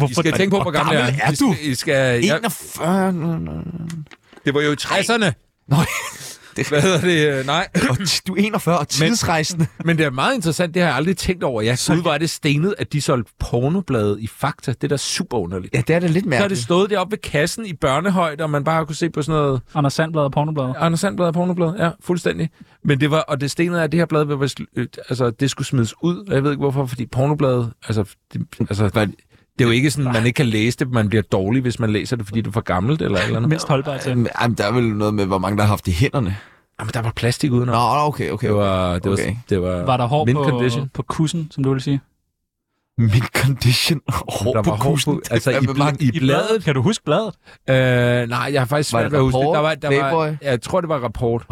I skal tænke på, hvor gammel jeg er. I skal- I skal, jeg, 41... det var jo i 60'erne. Nå, Hvad hedder det? Øh, Nej. og t- du er 41 og tidsrejsende. Men det er meget interessant, det har jeg aldrig tænkt over. Jeg synes, var det stenet, at de solgte pornoblade i Fakta. Det er da super underligt. Ja, det er da lidt Så har det mærkeligt. stået deroppe ved kassen i børnehøjde, og man bare kunne se på sådan noget Anders Sandblad og Pornoblad. Anders Sandblad og pornoblad. Ja, fuldstændig. Men det var, og det stenede er, at det her blad, var, vist- øh, altså, det skulle smides ud, og jeg ved ikke hvorfor, fordi pornobladet, altså, det, altså, det er jo ikke sådan, man ikke kan læse det, man bliver dårlig, hvis man læser det, fordi det er for gammelt eller et eller andet. Mindst holdbart til. Jamen, jamen, der er vel noget med, hvor mange der har haft i hænderne. Jamen, der var plastik udenom. Nå, okay, okay. Det var, det var, Okay. det var, Var der hår mint på, condition. på kussen, som du vil sige? Min condition. Hår Der på var hår kusen. på- altså, Det er i fandme mange- bl- i bladet? Kan du huske bladet? Øh, nej, jeg har faktisk Var svært det ved at huske det. rapport? Der var, der var, Playboy? jeg tror, det var rapport.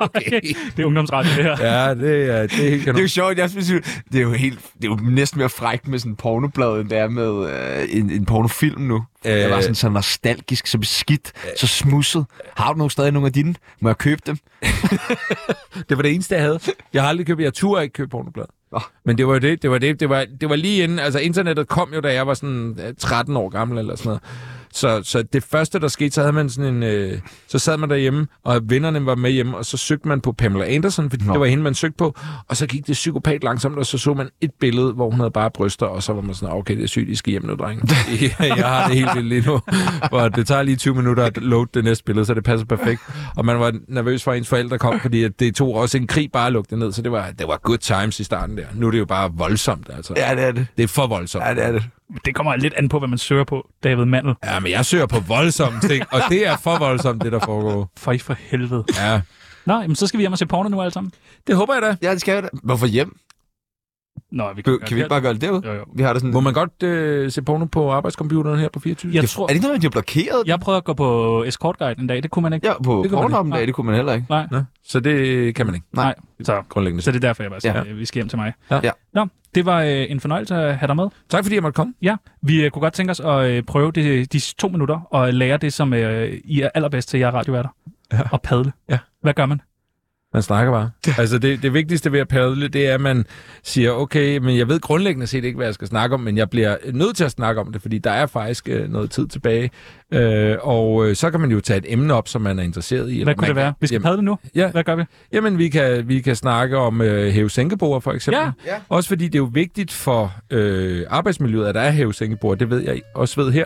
Okay. det er ungdomsradio, det her. Ja, det, er, det er Det er helt jo kanon. sjovt, jeg synes, jo- det er jo, helt, det er jo næsten mere frækt med sådan en pornoblad, end det er med øh, en, en pornofilm nu. Øh, jeg var sådan så nostalgisk, så beskidt, øh, så smudset. Har du nogen stadig nogle af dine? Må jeg købe dem? Det var det eneste, jeg havde. Jeg har aldrig købt, jeg turde ikke købe pornoblad. Nå. Men det var jo det, det var det, det var, det var lige inden, altså internettet kom jo, da jeg var sådan øh, 13 år gammel eller sådan noget. Så, så det første, der skete, så havde man sådan en, øh, så sad man derhjemme, og vennerne var med hjemme, og så søgte man på Pamela Anderson, fordi Nå. det var hende, man søgte på, og så gik det psykopat langsomt, og så så man et billede, hvor hun havde bare bryster, og så var man sådan, "Ah, okay, det er sygt, I skal hjem nu, drenge. jeg har det helt vildt lige nu, for det tager lige 20 minutter at load det næste billede, så det passer perfekt. Og man var nervøs for, at ens forældre kom, fordi at det tog også en krig bare at lukke det ned, så det var, det var good times i starten der. Nu er det jo bare voldsomt, altså. Ja, det er det. Det er for voldsomt. Ja, det er det. Det kommer lidt an på, hvad man søger på, David Mandel. Ja, men jeg søger på voldsomme ting, og det er for voldsomt, det der foregår. For i for helvede. Ja. Nå, jamen, så skal vi hjem og se porno nu alle sammen. Det håber jeg da. Ja, det skal jeg da. Hvorfor hjem? Nå, vi Kan, gøre kan vi ikke det. bare gøre det derude? Jo, jo. Vi har da sådan... Må man godt øh, se porno på arbejdscomputeren her på 24? Jeg Er tror, det ikke noget, de er blokeret? jeg prøvede at gå på escort guide en dag, det kunne man ikke. Ja, på Det kan man Pornhub en dag, ikke. det kunne man heller ikke. Nå, så det kan man ikke, nej. Så, grundlæggende. så det er derfor, jeg bare siger, Ja. ja. vi skal hjem til mig. Ja. Ja. Nå, det var øh, en fornøjelse at have dig med. Tak fordi jeg måtte komme. Ja, vi øh, kunne godt tænke os at øh, prøve det, de to minutter og lære det, som øh, I er allerbedst til, jer radioværter. Ja. Og padle. Ja. Hvad gør man? Man snakker bare. Altså det, det vigtigste ved at padle, det er, at man siger, okay, men jeg ved grundlæggende set ikke, hvad jeg skal snakke om, men jeg bliver nødt til at snakke om det, fordi der er faktisk øh, noget tid tilbage. Øh, og øh, så kan man jo tage et emne op, som man er interesseret i. Hvad kunne det man være? Vi skal Jamen, padle nu. Ja, Hvad gør vi? Jamen, vi kan, vi kan snakke om øh, hævesænkebord, for eksempel. Ja. Ja. Også fordi det er jo vigtigt for øh, arbejdsmiljøet, at der er hævesænkebord. Det ved jeg også ved her.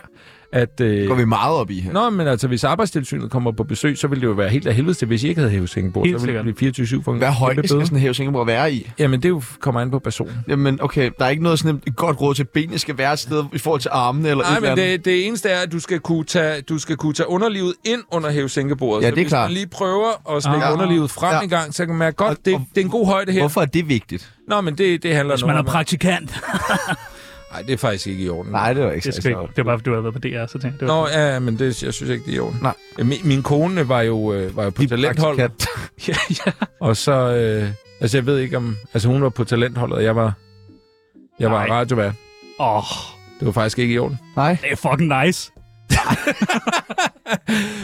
At, øh, Går vi meget op i her? Nå, men altså, hvis arbejdstilsynet kommer på besøg, så ville det jo være helt af helvede til, hvis I ikke havde hævesænkebord. Helt Så ville sikkert. det blive 24-7 for en Hvad kæmpe højde bøde. skal sådan en hæve Singapore være i? Jamen, det er jo kommer an på personen. Jamen, okay, der er ikke noget sådan et godt råd til, at benene skal være et sted i forhold til armene eller et Nej, eller men andet. det, det eneste er, at du skal kunne tage, du skal kunne tage underlivet ind under hævesænkebordet. Ja, Så det er hvis klart. man lige prøver at stikke Ah. underlivet frem Ja. ja. en gang, så kan man mærke godt, Og- det, og- det er en god højde her. Hvorfor er det vigtigt? Nå, men det, det handler Hvis man noget er om... praktikant. Nej, det er faktisk ikke i orden. Nej, det var ikke altså, særlig Det, skal ikke. sjovt. det var bare, fordi du havde været på DR, så tænkte jeg, det var Nå, ja, men det, jeg synes ikke, det er i orden. Nej. Min, min kone var jo, øh, var jo på talentholdet, Praktikant. ja, ja. og så... Øh, altså, jeg ved ikke om... Altså, hun var på talentholdet, og jeg var... Jeg var Nej. radiovært. Åh, oh, Det var faktisk ikke i orden. Nej. det er fucking nice.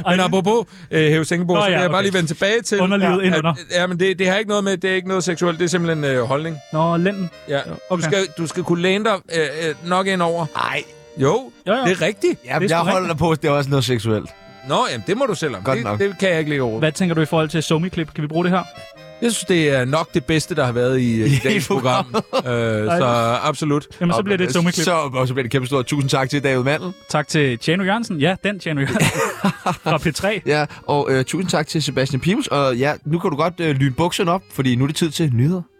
Men apropos øh, Hæve Sengeborg, Nå, så vil ja, jeg bare okay. lige vende tilbage til... Underlivet at, ind under. at- Ja, men det, det har ikke noget med... Det er ikke noget seksuelt, det er simpelthen øh, holdning. Nå, lænden. Ja. Du, okay. skal, du skal kunne læne dig øh, øh, nok ind over. Nej. Jo, Jo, jo. det er rigtigt. Jamen, Det er jeg sgu holder dig på, at det er også noget seksuelt. Nå, jamen, det må du selv om. Godt det, nok. det kan jeg ikke lægge over. Hvad tænker du i forhold til Somi-klip? Kan vi bruge det her? Jeg synes, det er nok det bedste, der har været i, øh, i dagens program. øh, så absolut. Jamen, så bliver det et Somi-klip. Så, og så bliver det kæmpe stort. Tusind tak til David Mandel. Tak til Tjano Jørgensen. Ja, den Tjano Jørgensen. Fra P3. Ja, og øh, tusind tak til Sebastian Pibels. Og ja, nu kan du godt øh, lyne bukserne op, fordi nu er det tid til nyheder.